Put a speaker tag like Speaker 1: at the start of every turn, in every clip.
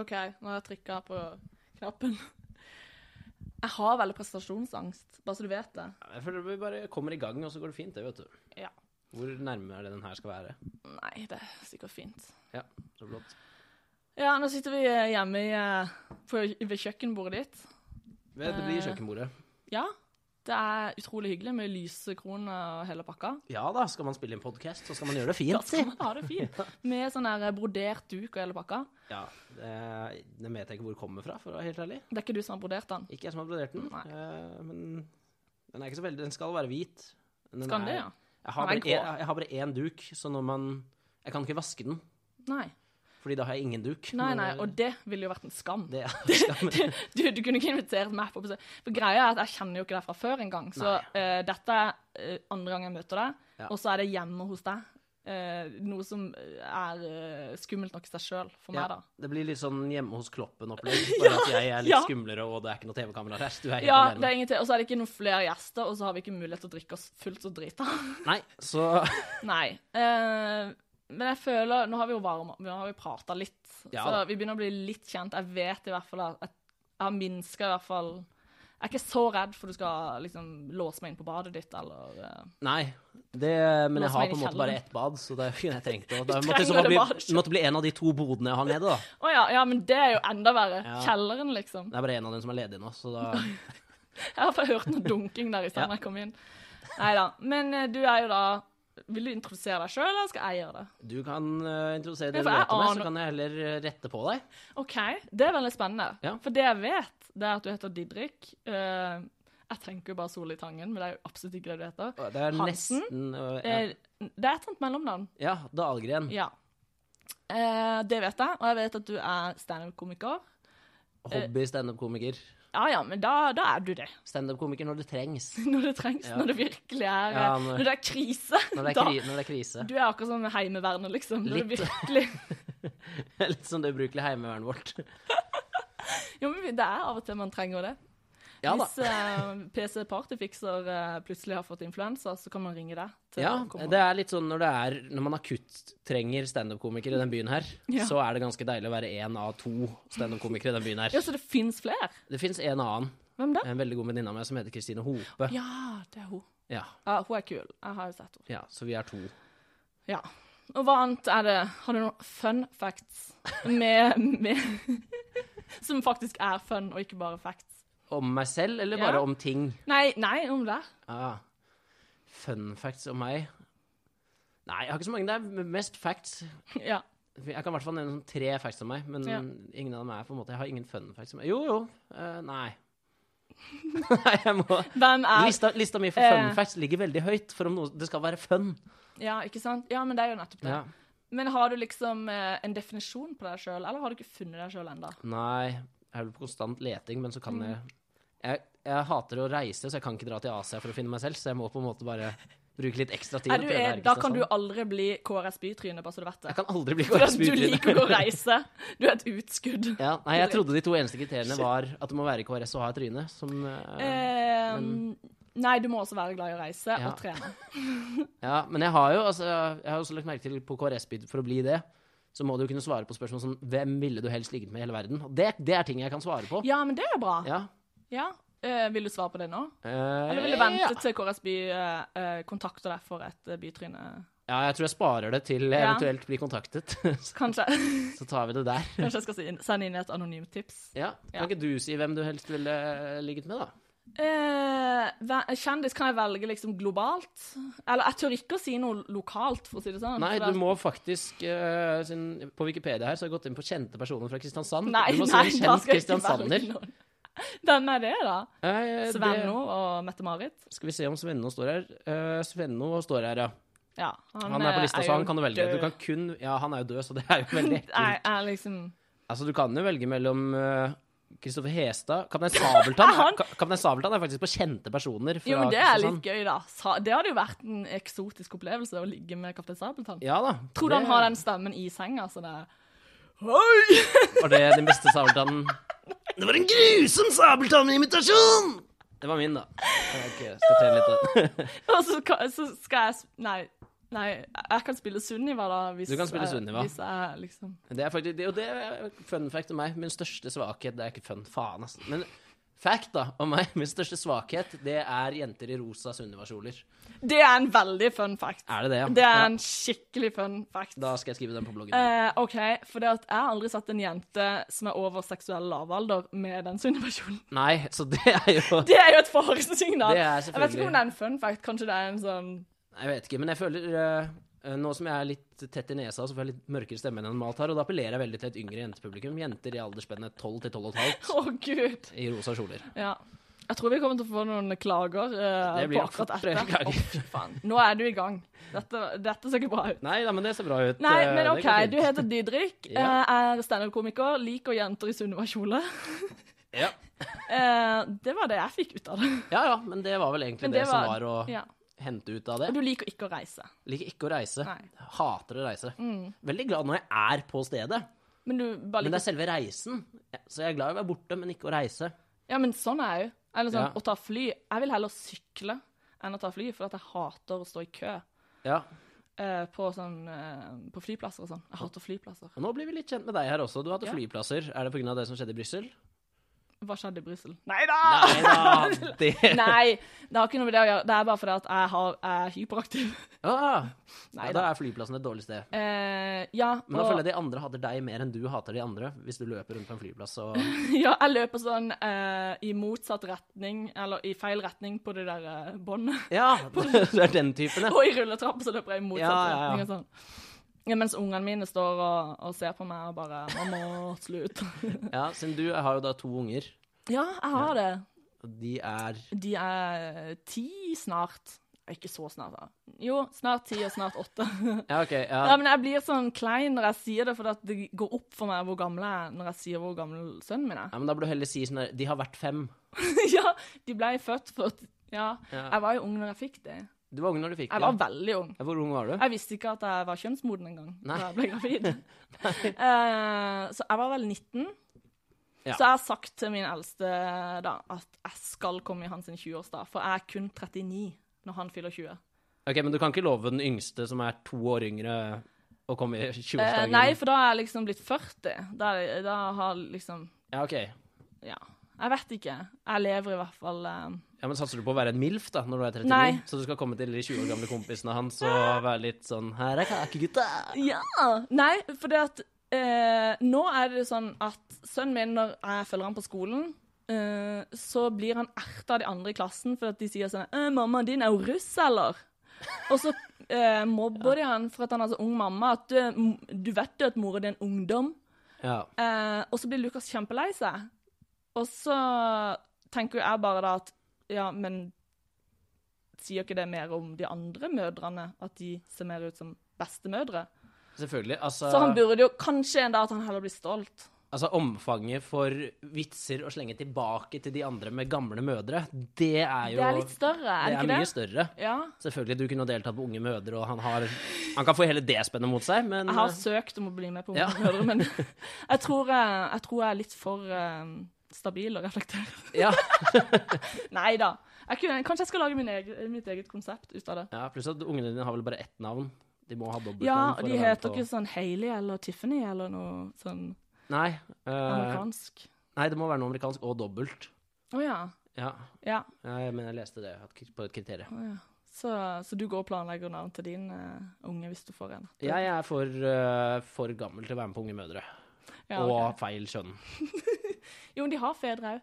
Speaker 1: OK, nå har jeg trykka på knappen. Jeg har veldig prestasjonsangst, bare så du vet det.
Speaker 2: Jeg føler vi bare kommer i gang, og så går det fint, det, vet du.
Speaker 1: Ja.
Speaker 2: Hvor nærme er det den her skal være?
Speaker 1: Nei, det er sikkert fint.
Speaker 2: Ja, så flott.
Speaker 1: Ja, nå sitter vi hjemme i, eh, på, ved kjøkkenbordet ditt.
Speaker 2: Det det blir
Speaker 1: Eh.
Speaker 2: kjøkkenbordet.
Speaker 1: Ja, det er utrolig hyggelig med lysekroner og hele pakka.
Speaker 2: Ja da, skal man spille inn podkast, så skal man gjøre det
Speaker 1: Da
Speaker 2: fint, si.
Speaker 1: skal man ha det fint. Med sånn der brodert duk og hele pakka.
Speaker 2: Ja, det, det vet jeg ikke hvor det kommer fra, for å være helt ærlig.
Speaker 1: Det er ikke du som har brodert den.
Speaker 2: Ikke jeg som har brodert den,
Speaker 1: Nei.
Speaker 2: eh, men den er ikke så veldig Den skal være hvit. Men den
Speaker 1: Skal
Speaker 2: er-
Speaker 1: den det, ja?
Speaker 2: Jeg har,
Speaker 1: Den
Speaker 2: bare
Speaker 1: er
Speaker 2: en,
Speaker 1: grå.
Speaker 2: jeg har bare én duk, så når man Jeg kan ikke vaske den,
Speaker 1: Nei.
Speaker 2: fordi da har jeg ingen duk.
Speaker 1: Nei,
Speaker 2: men- eh,
Speaker 1: nei, og det ville jo vært en skam.
Speaker 2: det,
Speaker 1: Du, du kunne ikke invitert meg på besøk. For greia er at jeg kjenner jo ikke deg fra før engang. Så eh, dette er eh, andre gang jeg møter deg,
Speaker 2: Ja.
Speaker 1: og så er det hjemme hos deg. Eh, noe som er eh, skummelt nok i seg sjøl for meg,
Speaker 2: ja,
Speaker 1: da.
Speaker 2: det blir litt sånn hjemme hos Kloppen-opplegg. Bare at jeg er litt
Speaker 1: ja.
Speaker 2: skumlere, og det er ikke noe TV-kamera her. Du er helt
Speaker 1: Ja, det
Speaker 2: alene.
Speaker 1: er ingenting. Og så er det ikke noen flere gjester, og så har vi ikke mulighet til å drikke oss fullt og drita.
Speaker 2: Nei, så
Speaker 1: Nei. Eh, men jeg føler Nå har vi jo varma Nå har vi prata litt,
Speaker 2: Ja
Speaker 1: så
Speaker 2: da.
Speaker 1: vi begynner å bli litt kjent. Jeg vet i hvert fall at jeg, jeg har minska i hvert fall Jeg er ikke så redd for du skal liksom låse meg inn på badet ditt, eller eh,
Speaker 2: Nei. Det, men
Speaker 1: Nå
Speaker 2: jeg
Speaker 1: som
Speaker 2: har
Speaker 1: er
Speaker 2: på en
Speaker 1: i
Speaker 2: måte bare
Speaker 1: kjelleren.
Speaker 2: ett bad, så det kunne jeg trengt å
Speaker 1: Du
Speaker 2: Det måtte, i
Speaker 1: trenger
Speaker 2: så fall
Speaker 1: det
Speaker 2: bli,
Speaker 1: bare ikke.
Speaker 2: måtte bli en av de to bodene jeg har nede, da.
Speaker 1: Å ja, ja, men det er jo enda verre.
Speaker 2: Ja.
Speaker 1: Kjelleren, liksom.
Speaker 2: Det er bare en av dem som er ledig nå, så da
Speaker 1: Jeg har bare hørt noe dunking der i
Speaker 2: Ja.
Speaker 1: stedet da jeg kom inn. Nei da. Men eh, du er jo da Vil du introdusere deg sjøl, eller skal jeg gjøre det?
Speaker 2: Du kan eh, introdusere det
Speaker 1: Ja,
Speaker 2: du
Speaker 1: for jeg
Speaker 2: vet om meg, så
Speaker 1: aner-
Speaker 2: kan jeg heller eh, rette på deg.
Speaker 1: OK, det er veldig spennende.
Speaker 2: Ja.
Speaker 1: For det jeg vet, det er at du heter Didrik. Eh, jeg tenker jo bare Solli Tangen, men det er jo absolutt ikke det du heter.
Speaker 2: Det er
Speaker 1: Hansen?
Speaker 2: nesten øh, ja.
Speaker 1: Eh, Det er et sånt mellomnavn.
Speaker 2: ja, Dahlgren.
Speaker 1: Ja. Eh, det vet jeg, og jeg vet at du er standup-komiker. eh,
Speaker 2: Hobby standup-komiker.
Speaker 1: Ja ja, men da, da er du det.
Speaker 2: Standup-komiker når det trengs.
Speaker 1: Når det trengs,
Speaker 2: Ja.
Speaker 1: når det virkelig er
Speaker 2: Ja,
Speaker 1: eh,
Speaker 2: når-
Speaker 1: Når det er krise.
Speaker 2: Når det er,
Speaker 1: da-
Speaker 2: kri når det er krise.
Speaker 1: Du er akkurat som Heimevernet, liksom. Når
Speaker 2: Litt.
Speaker 1: det virkelig
Speaker 2: Litt som det ubrukelige heimevernet vårt.
Speaker 1: Jo, men det er av og til man trenger det.
Speaker 2: Ja da.
Speaker 1: Hvis eh, PC Partyfikser eh, plutselig har fått influensa, så kan man ringe deg. til
Speaker 2: Ja,
Speaker 1: å komme.
Speaker 2: det er litt sånn når det er Når man akutt trenger standup-komikere i den byen her,
Speaker 1: Ja.
Speaker 2: så er det ganske deilig å være én av to standup-komikere i den byen her.
Speaker 1: Ja, så det fins flere?
Speaker 2: Det fins en annen,
Speaker 1: Hvem da?
Speaker 2: en veldig god venninne av meg, som heter Kristine Hope.
Speaker 1: Ja, det er hun.
Speaker 2: Ja,
Speaker 1: Ja, hun er kul. Jeg har jo sett henne.
Speaker 2: ja, så vi er to.
Speaker 1: Ja. Og hva annet er det Har du noen fun facts med, med Som faktisk er fun, og ikke bare facts?
Speaker 2: Om meg selv, eller
Speaker 1: Ja.
Speaker 2: bare om ting?
Speaker 1: Nei, nei, om det.
Speaker 2: Ah, fun facts om meg? Nei, jeg har ikke så mange. Det er mest facts.
Speaker 1: Ja.
Speaker 2: Jeg kan i hvert fall nevne sånn tre facts om meg, men
Speaker 1: Ja.
Speaker 2: ingen av dem er på en måte Jeg har ingen fun facts om meg. Jo, jo. eh, nei. nei, jeg må
Speaker 1: Hvem er
Speaker 2: lista, lista mi for
Speaker 1: eh,
Speaker 2: fun facts ligger veldig høyt, for om noe, det skal være fun.
Speaker 1: Ja, ikke sant? Ja, men det er jo nettopp det.
Speaker 2: Ja.
Speaker 1: Men har du liksom eh, en definisjon på deg sjøl, eller har du ikke funnet deg sjøl ennå?
Speaker 2: Nei, jeg er vel på konstant leting, men så kan jeg, jeg Jeg hater å reise, så jeg kan ikke dra til Asia for å finne meg selv, så jeg må på en måte bare bruke litt ekstra tid.
Speaker 1: Er
Speaker 2: og
Speaker 1: du,
Speaker 2: prøve
Speaker 1: er,
Speaker 2: her i
Speaker 1: da kan du
Speaker 2: Kristiansand.
Speaker 1: aldri bli KRS Bytryne, bare så du vet det.
Speaker 2: Jeg kan aldri bli
Speaker 1: For at du
Speaker 2: KrS-bytryne.
Speaker 1: liker å gå og reise. Du er et utskudd.
Speaker 2: Ja, nei, jeg trodde de to eneste kriteriene var at det må være KrS og ha et tryne. Som, eh,
Speaker 1: Eh, nei, du må også være glad i å reise
Speaker 2: Ja.
Speaker 1: og trene.
Speaker 2: ja, men jeg har jo altså, jeg har også lagt merke til på KrS-byd for å bli det. Så må du jo kunne svare på spørsmål som Hvem ville du helst ligget med i hele verden? Og det, det er ting jeg kan svare på.
Speaker 1: Ja, men det er bra. Ja.
Speaker 2: Ja.
Speaker 1: Eh, vil du svare på det nå?
Speaker 2: Eh,
Speaker 1: Eller vil du
Speaker 2: ja.
Speaker 1: vente til KRS By eh, eh, kontakter deg for et eh, bytryne?
Speaker 2: ja, jeg tror jeg sparer det til jeg
Speaker 1: Ja.
Speaker 2: eventuelt blir kontaktet. Så-
Speaker 1: Kanskje,
Speaker 2: Så tar vi det der.
Speaker 1: kanskje jeg skal si- sende inn et anonymt tips.
Speaker 2: Ja. Kan
Speaker 1: Ja.
Speaker 2: ikke du si hvem du helst ville ligget med, da?
Speaker 1: Eh, hva- kjendis kan jeg velge liksom globalt. Eller jeg tør ikke å si noe lokalt, for å si det sånn.
Speaker 2: Nei,
Speaker 1: for det
Speaker 2: du
Speaker 1: er-
Speaker 2: må faktisk eh, siden På Wikipedia her så har jeg gått inn på kjente personer fra Kristiansand.
Speaker 1: Nei,
Speaker 2: du må
Speaker 1: nei,
Speaker 2: si en
Speaker 1: da skal jeg
Speaker 2: kjent
Speaker 1: ikke
Speaker 2: kristiansander.
Speaker 1: velge noen. Hvem er det, da?
Speaker 2: Eh, det-
Speaker 1: Svenno og Mette-Marit?
Speaker 2: Skal vi se om Svenno står her. Eh, Svenno står her, ja.
Speaker 1: Ja,
Speaker 2: Han er på lista,
Speaker 1: jo
Speaker 2: så han kan du velge.
Speaker 1: død.
Speaker 2: Du kan kun Ja, han er jo død, så det er jo veldig
Speaker 1: Jeg
Speaker 2: ekkelt.
Speaker 1: er liksom
Speaker 2: Altså, du kan jo velge mellom eh, Kristoffer Hestad Kaptein Sabeltann
Speaker 1: Han-
Speaker 2: Ka- Kaptein Sabeltann er faktisk på kjente personer fra
Speaker 1: Jo, men det er litt
Speaker 2: Kristiansand.
Speaker 1: gøy, da. Sa- Det hadde jo vært en eksotisk opplevelse å ligge med Kaptein Sabeltann.
Speaker 2: Ja da.
Speaker 1: Tror du han har den stemmen i senga, så det er Hei!
Speaker 2: Var det den beste Sabeltannen? Det var en grusom Sabeltann-imitasjon! Det var min, da. Jeg skal trene litt.
Speaker 1: Og så, ka- så skal jeg s- Nei. Nei, jeg kan spille Sunniva, da. Hvis
Speaker 2: Du kan spille
Speaker 1: jeg-
Speaker 2: Sunniva.
Speaker 1: Hvis jeg liksom
Speaker 2: Det er faktisk, det, og det er fun fact om meg. Min største svakhet Det er ikke fun, faen, ass. Men fact, da, om meg. Min største svakhet, det er jenter i rosa Sunniva-kjoler.
Speaker 1: Det er en veldig fun fact.
Speaker 2: Er det det, ja?
Speaker 1: Det er
Speaker 2: Ja.
Speaker 1: en skikkelig fun fact.
Speaker 2: Da skal jeg skrive den på bloggen.
Speaker 1: Eh, OK, for det at jeg har aldri sett en jente som er over seksuell lavalder med den Sunniva-kjolen.
Speaker 2: Nei, så det er jo
Speaker 1: Det er jo et faresignal.
Speaker 2: Det er
Speaker 1: Jeg vet ikke
Speaker 2: selvfølgelig-
Speaker 1: om det er en fun fact. Kanskje det er en sånn
Speaker 2: Jeg vet ikke, men jeg føler eh, Nå som jeg er litt tett i nesa, så får jeg litt mørkere stemme enn jeg normalt har, og da appellerer jeg veldig til et yngre jentepublikum. Jenter i aldersspennet 12 til 12,5
Speaker 1: Å, gud.
Speaker 2: i rosa kjoler.
Speaker 1: Ja. Jeg tror vi kommer til å få noen klager eh,
Speaker 2: Det blir
Speaker 1: på
Speaker 2: nok
Speaker 1: akkurat
Speaker 2: fort en
Speaker 1: dette.
Speaker 2: klager.
Speaker 1: Å, fy faen. Nå er du i gang. Dette, dette ser ikke bra ut.
Speaker 2: Nei da, men det ser bra ut.
Speaker 1: Nei,
Speaker 2: Eh,
Speaker 1: men
Speaker 2: det
Speaker 1: OK.
Speaker 2: går fint.
Speaker 1: Du heter Didrik,
Speaker 2: Ja.
Speaker 1: eh, er standup-komiker, liker jenter i Sunniva-kjole.
Speaker 2: ja.
Speaker 1: Eh, det var det jeg fikk ut av det.
Speaker 2: ja ja, men det var vel egentlig
Speaker 1: Men
Speaker 2: det,
Speaker 1: det
Speaker 2: som
Speaker 1: var-
Speaker 2: var å
Speaker 1: Ja.
Speaker 2: hente ut av det.
Speaker 1: Og du liker ikke å reise.
Speaker 2: Liker ikke å reise.
Speaker 1: Nei.
Speaker 2: Hater å reise. Veldig glad når jeg er på stedet,
Speaker 1: Men du bare
Speaker 2: men det
Speaker 1: liker
Speaker 2: er selve reisen. Så jeg er glad i å være borte, men ikke å reise.
Speaker 1: Ja, men sånn er jeg jo. Eller sånn,
Speaker 2: Ja.
Speaker 1: å ta fly. Jeg vil heller sykle enn å ta fly, for at jeg hater å stå i kø
Speaker 2: Ja,
Speaker 1: eh, på, sånn, eh, på flyplasser og sånn. Jeg hater flyplasser.
Speaker 2: og Nå blir vi litt kjent med deg her også. Du hadde
Speaker 1: Ja.
Speaker 2: flyplasser. Er det pga. det som skjedde i Brussel?
Speaker 1: Hva skjedde i Brussel? Nei da!
Speaker 2: Nei da! Det...
Speaker 1: Nei, det har ikke noe med det å gjøre. Det er bare fordi at jeg, har, jeg er hyperaktiv.
Speaker 2: Ah,
Speaker 1: Nei
Speaker 2: ja,
Speaker 1: da.
Speaker 2: da er flyplassen et dårlig sted.
Speaker 1: Eh, ja,
Speaker 2: Men da
Speaker 1: og-
Speaker 2: føler jeg de andre hater deg mer enn du hater de andre, hvis du løper rundt på en flyplass og
Speaker 1: ja, jeg løper sånn eh, i motsatt retning, eller i feil retning på det der eh, båndet.
Speaker 2: Ja, du er den typen, ja.
Speaker 1: Og i rulletrappa så løper jeg i motsatt
Speaker 2: Ja, ja, ja.
Speaker 1: retning. og sånn. Ja, mens ungene mine står og, og ser på meg og bare 'Mamma, slutt'.
Speaker 2: ja. Siden du har jo da to unger,
Speaker 1: Ja, jeg har det.
Speaker 2: og de er
Speaker 1: De er ti snart. Ikke så snart, da. Jo, snart ti og snart åtte.
Speaker 2: Ja, OK.
Speaker 1: Ja,
Speaker 2: Ja.
Speaker 1: men jeg blir sånn klein når jeg sier det, for at det går opp for meg hvor gammel jeg er når jeg sier hvor gammel sønnen min er.
Speaker 2: ja men da burde du heller si sånn der De har vært fem.
Speaker 1: ja, de ble født for ja.
Speaker 2: Ja.
Speaker 1: Jeg var jo ung når jeg fikk det.
Speaker 2: Du var ung når du fikk
Speaker 1: Jeg
Speaker 2: det.
Speaker 1: var veldig ung.
Speaker 2: Ja, Hvor ung var du?
Speaker 1: Jeg visste ikke at jeg var kjønnsmoden engang
Speaker 2: Nei.
Speaker 1: da jeg ble gravid. Eh, så jeg var vel 19.
Speaker 2: Ja.
Speaker 1: Så jeg har sagt til min eldste da at jeg skal komme i hans 20-årsdag, for jeg er kun 39 når han fyller 20.
Speaker 2: Ok, Men du kan ikke love den yngste, som er to år yngre, å komme i
Speaker 1: Eh,
Speaker 2: 20-årsdagen?
Speaker 1: nei, for da er jeg liksom blitt 40. Da, er- da har liksom
Speaker 2: Ja, ok.
Speaker 1: Ja. Jeg vet ikke. Jeg lever i hvert fall eh,
Speaker 2: Ja, men Satser du på å være en MILF da, når du er 39?
Speaker 1: Nei.
Speaker 2: Så du skal komme til de 20 år gamle kompisene hans og være litt sånn Her er kakegutta!
Speaker 1: Ja! Nei, for det at eh, Nå er det sånn at sønnen min, når jeg følger han på skolen, eh, så blir han erta av de andre i klassen for at de sier sånn «Eh, 'Mammaen din er jo russ, eller?' Og så eh, mobber de han for at han er så ung mamma. At eh, m- du vet jo at mora di er en ungdom.
Speaker 2: Ja.
Speaker 1: Eh, og så blir Lukas kjempelei seg. Og så tenker jo jeg bare da at ja, men sier ikke det mer om de andre mødrene, at de ser mer ut som bestemødre?
Speaker 2: Selvfølgelig. Altså,
Speaker 1: Så han burde jo kanskje en dag at han heller blir stolt.
Speaker 2: altså omfanget for vitser å slenge tilbake til de andre med gamle mødre, det er jo
Speaker 1: Det er litt større, er det
Speaker 2: det er
Speaker 1: ikke
Speaker 2: mye Mm.
Speaker 1: det?
Speaker 2: større.
Speaker 1: Ja.
Speaker 2: Selvfølgelig, du kunne ha deltatt på Unge mødre, og han har Han kan få hele det spennet mot seg, men
Speaker 1: Jeg har søkt om å bli med på
Speaker 2: Ja.
Speaker 1: Mødre, men jeg tror jeg, jeg tror jeg er litt for eh, stabil og reflektert.
Speaker 2: eh, ja.
Speaker 1: Nei da. Jeg kunne, kanskje jeg skal lage min egen, mitt eget konsept ut av det.
Speaker 2: ja, pluss at ungene dine har vel bare ett navn. De må ha dobbeltnavn.
Speaker 1: Ja, og
Speaker 2: for å
Speaker 1: de
Speaker 2: være med
Speaker 1: heter
Speaker 2: på-
Speaker 1: ikke sånn Hailey eller Tiffany eller noe sånn
Speaker 2: Nei, eh,
Speaker 1: Amerikansk.
Speaker 2: nei, det må være noe amerikansk og dobbelt.
Speaker 1: Å ja.
Speaker 2: Ja,
Speaker 1: ja.
Speaker 2: jeg, men jeg leste det at- på et kriterium.
Speaker 1: Å, ja. Så, så du går og planlegger navn til din eh, unge hvis du får en?
Speaker 2: Jeg er for, eh, for gammel til å være med på Unge mødre.
Speaker 1: Ja,
Speaker 2: Og
Speaker 1: ok.
Speaker 2: feil kjønn.
Speaker 1: Jo, men de har fedre òg.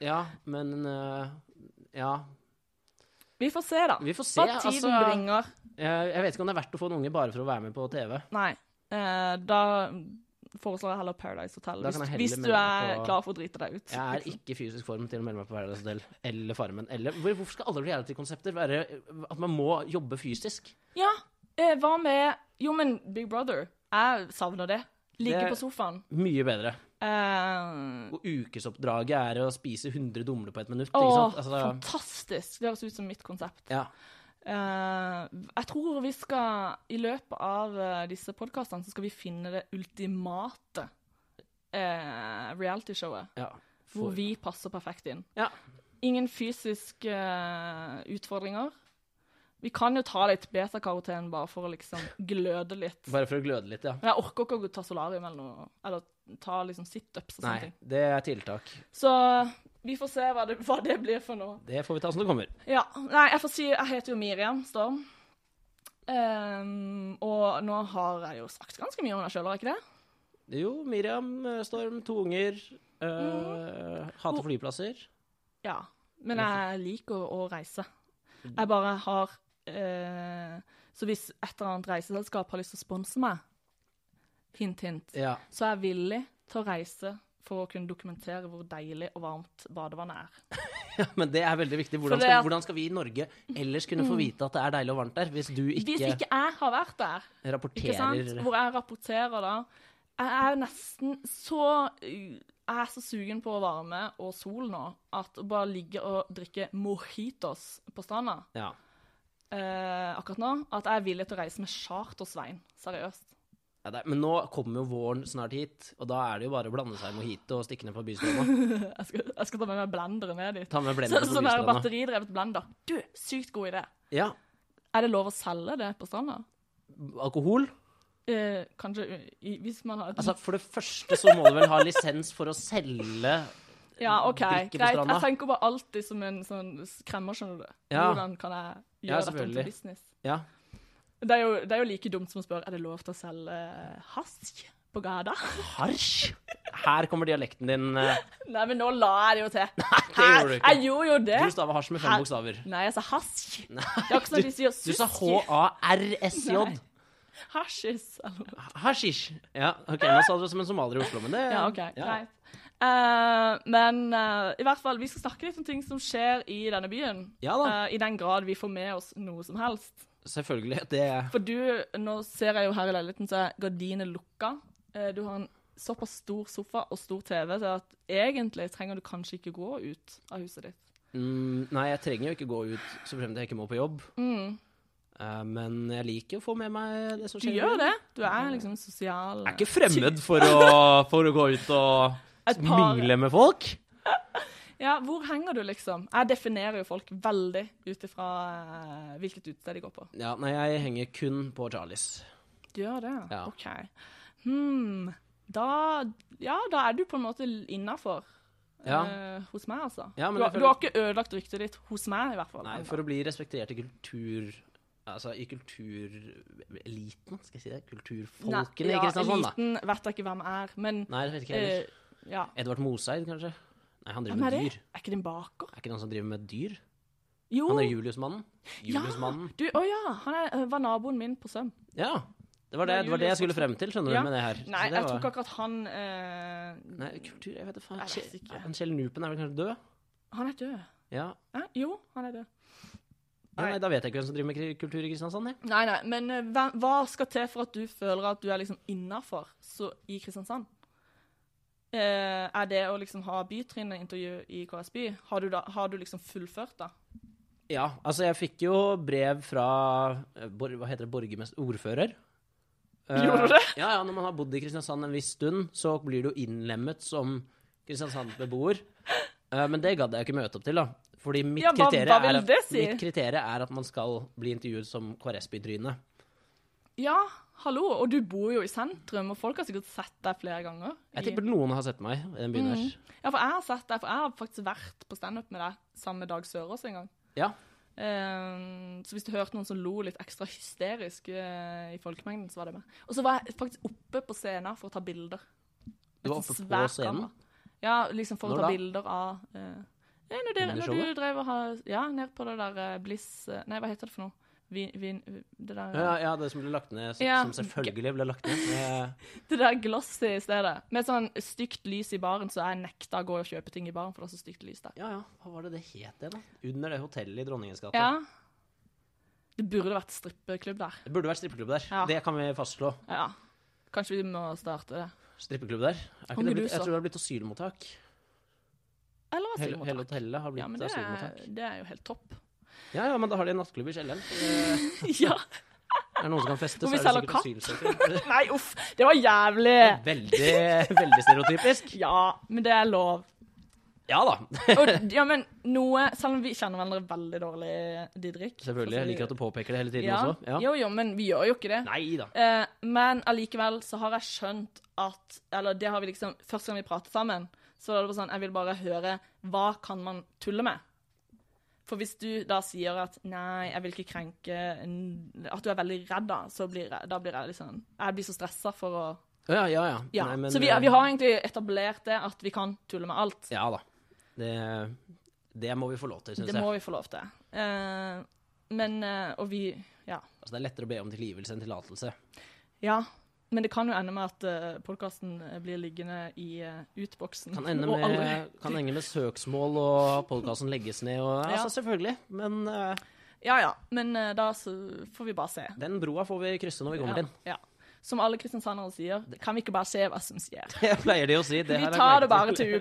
Speaker 2: Ja, men eh, Ja.
Speaker 1: Vi får se, da.
Speaker 2: Vi får se.
Speaker 1: Hva tiden
Speaker 2: Altså,
Speaker 1: bringer.
Speaker 2: jeg, jeg vet ikke om det er verdt å få en unge bare for å være med på TV.
Speaker 1: Nei. eh, da foreslår jeg heller Paradise Hotel,
Speaker 2: Da
Speaker 1: hvis,
Speaker 2: kan jeg heller
Speaker 1: hvis du
Speaker 2: melde meg
Speaker 1: er
Speaker 2: på-
Speaker 1: klar for å drite deg ut.
Speaker 2: Jeg er ikke i fysisk form til å melde meg på Paradise Hotel eller Farmen. Eller, hvor- hvorfor skal alle reality-konsepter være at man må jobbe fysisk?
Speaker 1: Ja, eh, hva med Jo, men Big Brother. Jeg savner det. Ligge
Speaker 2: Det-
Speaker 1: på sofaen.
Speaker 2: Mye bedre.
Speaker 1: Eh,
Speaker 2: Og ukesoppdraget er å spise 100 dumle på ett minutt.
Speaker 1: å,
Speaker 2: Ikke sant? Altså,
Speaker 1: fantastisk! Det høres ut som mitt konsept.
Speaker 2: ja.
Speaker 1: Eh, jeg tror vi skal, i løpet av eh, disse podkastene, så skal vi finne det ultimate eh, realityshowet.
Speaker 2: ja.
Speaker 1: Hvor
Speaker 2: For-
Speaker 1: vi passer perfekt inn.
Speaker 2: Ja.
Speaker 1: Ingen fysiske eh, utfordringer. Vi kan jo ta litt beta-karoten bare for å liksom gløde litt.
Speaker 2: Bare for å gløde litt, ja.
Speaker 1: Men Jeg orker ikke å ta solarium eller noe, eller ta liksom situps og sånne
Speaker 2: Nei,
Speaker 1: ting.
Speaker 2: det er tiltak.
Speaker 1: Så vi får se hva det, hva det blir for noe.
Speaker 2: Det får vi ta som det kommer.
Speaker 1: Ja, nei, jeg får si Jeg heter jo Miriam Storm. Ehm, og nå har jeg jo sagt ganske mye om meg sjøl, har jeg ikke det?
Speaker 2: Jo, Miriam, eh, Storm, to unger. eh,
Speaker 1: Mm.
Speaker 2: Hater flyplasser.
Speaker 1: Ja. Men jeg liker å, å reise. Jeg bare har eh, Så hvis et eller annet reiseselskap har lyst til å sponse meg, hint, hint,
Speaker 2: Ja.
Speaker 1: så er jeg villig til å reise for å kunne dokumentere hvor deilig og varmt badevannet er.
Speaker 2: ja, men det er veldig viktig.
Speaker 1: For
Speaker 2: Hvordan
Speaker 1: det
Speaker 2: skal,
Speaker 1: at- Mm.
Speaker 2: hvordan skal vi i Norge ellers kunne få vite at det er deilig og varmt der, hvis du ikke,
Speaker 1: Hvis ikke jeg har vært der, ikke sant?
Speaker 2: rapporterer
Speaker 1: hvor jeg rapporterer da Jeg er nesten så Jeg er så sugen på varme og sol nå at å bare ligge og drikke mojitos på stranda
Speaker 2: ja.
Speaker 1: eh, akkurat nå, at jeg er villig til å reise med charter-Svein. Seriøst.
Speaker 2: Ja, det, er- men nå kommer jo våren snart hit, og da er det jo bare å blande seg i mojito og stikke ned på bystranda.
Speaker 1: Jeg skal, jeg skal ta med meg blendere ned dit.
Speaker 2: Ta med
Speaker 1: Så,
Speaker 2: blender på
Speaker 1: sånn der
Speaker 2: bystranda.
Speaker 1: batteridrevet blender. Du, sykt god idé.
Speaker 2: Ja.
Speaker 1: Er det lov å selge det på stranda?
Speaker 2: Alkohol?
Speaker 1: Eh, kanskje i, hvis man har et
Speaker 2: Altså, for det første så må du vel ha lisens for å selge
Speaker 1: Ja, OK,
Speaker 2: drikke på
Speaker 1: greit.
Speaker 2: stranda.
Speaker 1: Jeg tenker bare alltid som en sånn kremmer, skjønner du.
Speaker 2: Ja.
Speaker 1: Hvordan kan jeg
Speaker 2: Ja,
Speaker 1: gjøre dette om
Speaker 2: selvfølgelig.
Speaker 1: til business?
Speaker 2: Ja.
Speaker 1: Det er, jo, det er jo like dumt som å spørre er det lov til å selge hasj på gata.
Speaker 2: Harsj? Her kommer dialekten din. eh.
Speaker 1: Nei, men nå la jeg det jo til.
Speaker 2: gjorde du ikke.
Speaker 1: Jeg gjorde jo det.
Speaker 2: Du staver hasj med fem
Speaker 1: Her-
Speaker 2: bokstaver.
Speaker 1: Nei, jeg sa hasj. Det er ikke sånn at de sier
Speaker 2: Du sa
Speaker 1: susj.
Speaker 2: H-A-R-S-J.
Speaker 1: Nei. Hasjis. eller noe.
Speaker 2: Hasjish. Ja, ok, nå sa du det som en somalier i Oslo, men det
Speaker 1: Ja, OK,
Speaker 2: ja.
Speaker 1: greit. Eh, men eh, i hvert fall, vi skal snakke litt om ting som skjer i denne byen.
Speaker 2: Ja da.
Speaker 1: Eh, I den grad vi får med oss noe som helst.
Speaker 2: Selvfølgelig. Det
Speaker 1: For du, nå ser jeg jo her i leiligheten, så er gardinene lukka. Eh, Du har en såpass stor sofa og stor TV, så at egentlig trenger du kanskje ikke gå ut av huset ditt.
Speaker 2: mm, Nei, jeg trenger jo ikke gå ut så fremt jeg ikke må på jobb.
Speaker 1: Mm.
Speaker 2: Eh, men jeg liker å få med meg det som
Speaker 1: Du
Speaker 2: skjer.
Speaker 1: gjør det. Du er liksom en sosial
Speaker 2: Jeg er ikke fremmed for å, for å gå ut og
Speaker 1: Et par-
Speaker 2: mingle med folk.
Speaker 1: Ja, hvor henger du, liksom? Jeg definerer jo folk veldig ut ifra eh, hvilket utested de går på.
Speaker 2: Ja, nei, jeg henger kun på Charlies.
Speaker 1: Du gjør det?
Speaker 2: Ja.
Speaker 1: OK. Hmm. Da Ja, da er du på en måte innafor.
Speaker 2: Ja.
Speaker 1: hos meg, altså.
Speaker 2: Ja, men
Speaker 1: du, har,
Speaker 2: jeg føler-
Speaker 1: du har ikke ødelagt ryktet ditt hos meg, i hvert fall.
Speaker 2: Nei, for å bli respektert i kultur... Altså i kultureliten, skal jeg si det? Kulturfolkene i Kristiansand, da.
Speaker 1: Eliten vet jeg ikke hvem er, men
Speaker 2: Nei, det vet ikke jeg heller.
Speaker 1: eh, ja.
Speaker 2: Edvard Moseid, kanskje? Nei, han driver
Speaker 1: Hvem er
Speaker 2: med
Speaker 1: det?
Speaker 2: dyr.
Speaker 1: Er ikke det en baker?
Speaker 2: Er ikke det han som driver med dyr?
Speaker 1: Jo!
Speaker 2: Han er Juliusmannen. Juliusmannen.
Speaker 1: Du, å ja! Han er, øh, var naboen min på Søm.
Speaker 2: Ja. Det var det, det, var det jeg skulle frem til, skjønner du,
Speaker 1: Ja.
Speaker 2: med det her. Så
Speaker 1: Nei,
Speaker 2: det
Speaker 1: jeg
Speaker 2: var...
Speaker 1: tror ikke akkurat han eh,
Speaker 2: Nei, kultur, jeg vet da faen.
Speaker 1: Jeg vet
Speaker 2: Kjell-
Speaker 1: ikke.
Speaker 2: Han Kjell Nupen er vel kanskje død?
Speaker 1: Han er død.
Speaker 2: Ja.
Speaker 1: Hæ? Jo, han er død.
Speaker 2: ja.
Speaker 1: Nei.
Speaker 2: Nei, da vet jeg ikke hvem som driver med kri- kultur i Kristiansand, jeg.
Speaker 1: Nei, nei, men eh, hva, hva skal til for at du føler at du er liksom innafor i Kristiansand? Eh, er det å liksom ha bytrinnet-intervju i KS By? Har du, da, har du liksom fullført, da?
Speaker 2: Ja, altså jeg fikk jo brev fra eh, bor, Hva heter det? Borgermester? Ordfører? Eh,
Speaker 1: Gjorde du det?
Speaker 2: Ja, ja, når man har bodd i Kristiansand en viss stund, så blir du innlemmet som Kristiansand-beboer. Eh, men det gadd jeg ikke møte opp til, da. Fordi mitt,
Speaker 1: Ja, hva- hva
Speaker 2: kriterium
Speaker 1: vil
Speaker 2: er,
Speaker 1: det si?
Speaker 2: mitt kriterium er at man skal bli intervjuet som KrS-bytryne.
Speaker 1: Ja, hallo, og du bor jo i sentrum, og folk har sikkert sett deg flere ganger.
Speaker 2: Jeg
Speaker 1: i-
Speaker 2: tipper noen har sett meg i den byen her.
Speaker 1: Ja, for jeg har sett deg, for jeg har faktisk vært på standup med deg sammen med Dag Sørås en gang.
Speaker 2: Ja.
Speaker 1: Eh, så hvis du hørte noen som lo litt ekstra hysterisk eh, i folkemengden, så var det meg. Og så var jeg faktisk oppe på scenen for å ta bilder.
Speaker 2: Du var
Speaker 1: Et
Speaker 2: oppe på
Speaker 1: svært
Speaker 2: scenen?
Speaker 1: kamera. Ja, liksom for å
Speaker 2: Når
Speaker 1: ta
Speaker 2: da?
Speaker 1: bilder av eh, Nei, når,
Speaker 2: Under
Speaker 1: dere, når
Speaker 2: showet?
Speaker 1: du drev og ha Ja, ned på det der eh, Bliss eh, Nei, hva heter det for noe? Vin, vin, det der
Speaker 2: Ja, ja, det som ble lagt ned, som,
Speaker 1: Ja.
Speaker 2: som selvfølgelig ble lagt ned. Eh,
Speaker 1: Det der glossy i stedet. Med sånn stygt lys i baren, så jeg nekta å gå og kjøpe ting i baren, for det er så stygt lys der.
Speaker 2: Ja, ja, hva var det det het igjen, da? Under det hotellet i Dronningens gate.
Speaker 1: Ja. Det burde vært strippeklubb der.
Speaker 2: Det burde vært strippeklubb der.
Speaker 1: Ja.
Speaker 2: Det kan vi fastslå.
Speaker 1: Ja. Kanskje vi må starte det.
Speaker 2: Strippeklubb der. Er ikke
Speaker 1: Om
Speaker 2: det
Speaker 1: du
Speaker 2: blitt, jeg
Speaker 1: så.
Speaker 2: tror det har blitt asylmottak.
Speaker 1: Eller
Speaker 2: Hele, hele
Speaker 1: asylmottak.
Speaker 2: hotellet har blitt
Speaker 1: Ja, men det er,
Speaker 2: asylmottak.
Speaker 1: det er jo helt topp.
Speaker 2: Ja, ja, men da har de en nattklubb i kjelleren. Eh,
Speaker 1: ja.
Speaker 2: Er det noen som kan feste,
Speaker 1: Hvor vi
Speaker 2: så er det
Speaker 1: selger
Speaker 2: sikkert asylsøkere.
Speaker 1: Nei, uff. Det var jævlig.
Speaker 2: Veldig, veldig stereotypisk.
Speaker 1: Ja, men det er lov.
Speaker 2: Ja da,
Speaker 1: Og, ja, men noe, selv om vi kjenner hverandre veldig dårlig, Didrik.
Speaker 2: selvfølgelig. Jeg liker at du påpeker det hele tiden
Speaker 1: ja.
Speaker 2: også. Ja.
Speaker 1: Jo, jo, men vi gjør jo ikke det.
Speaker 2: Nei da.
Speaker 1: Eh, men allikevel så har jeg skjønt at Eller det har vi liksom Første gang vi pratet sammen, så var det bare sånn Jeg vil bare høre Hva kan man tulle med? For hvis du da sier at nei, jeg vil ikke krenke en- At du er veldig redd, da, så blir jeg, da blir jeg liksom Jeg blir så stressa for å
Speaker 2: Å, Ja, ja, ja.
Speaker 1: Ja.
Speaker 2: Nei, men,
Speaker 1: så vi,
Speaker 2: eh,
Speaker 1: vi har egentlig etablert det at vi kan tulle med alt.
Speaker 2: Ja da. Det, det må vi få lov til, syns
Speaker 1: det
Speaker 2: jeg.
Speaker 1: må vi få lov til. Eh, men eh, Og vi Ja.
Speaker 2: Altså, det er lettere å be om tilgivelse enn tillatelse.
Speaker 1: Ja, men det kan jo ende med at uh, podkasten blir liggende i eh, utboksen.
Speaker 2: Kan ende
Speaker 1: og
Speaker 2: med,
Speaker 1: aldri-
Speaker 2: kan ende med søksmål, og podkasten legges ned og
Speaker 1: Ja.
Speaker 2: Altså, selvfølgelig. Men eh,
Speaker 1: Ja ja, men eh, da så får vi bare se.
Speaker 2: den broa får vi krysse når vi
Speaker 1: Ja,
Speaker 2: kommer til den.
Speaker 1: ja. Som alle kristiansandere sier, kan vi ikke bare se hva som skjer?
Speaker 2: Jeg pleier de å si. Det
Speaker 1: Vi
Speaker 2: har jeg
Speaker 1: tar det
Speaker 2: lagt merke
Speaker 1: bare til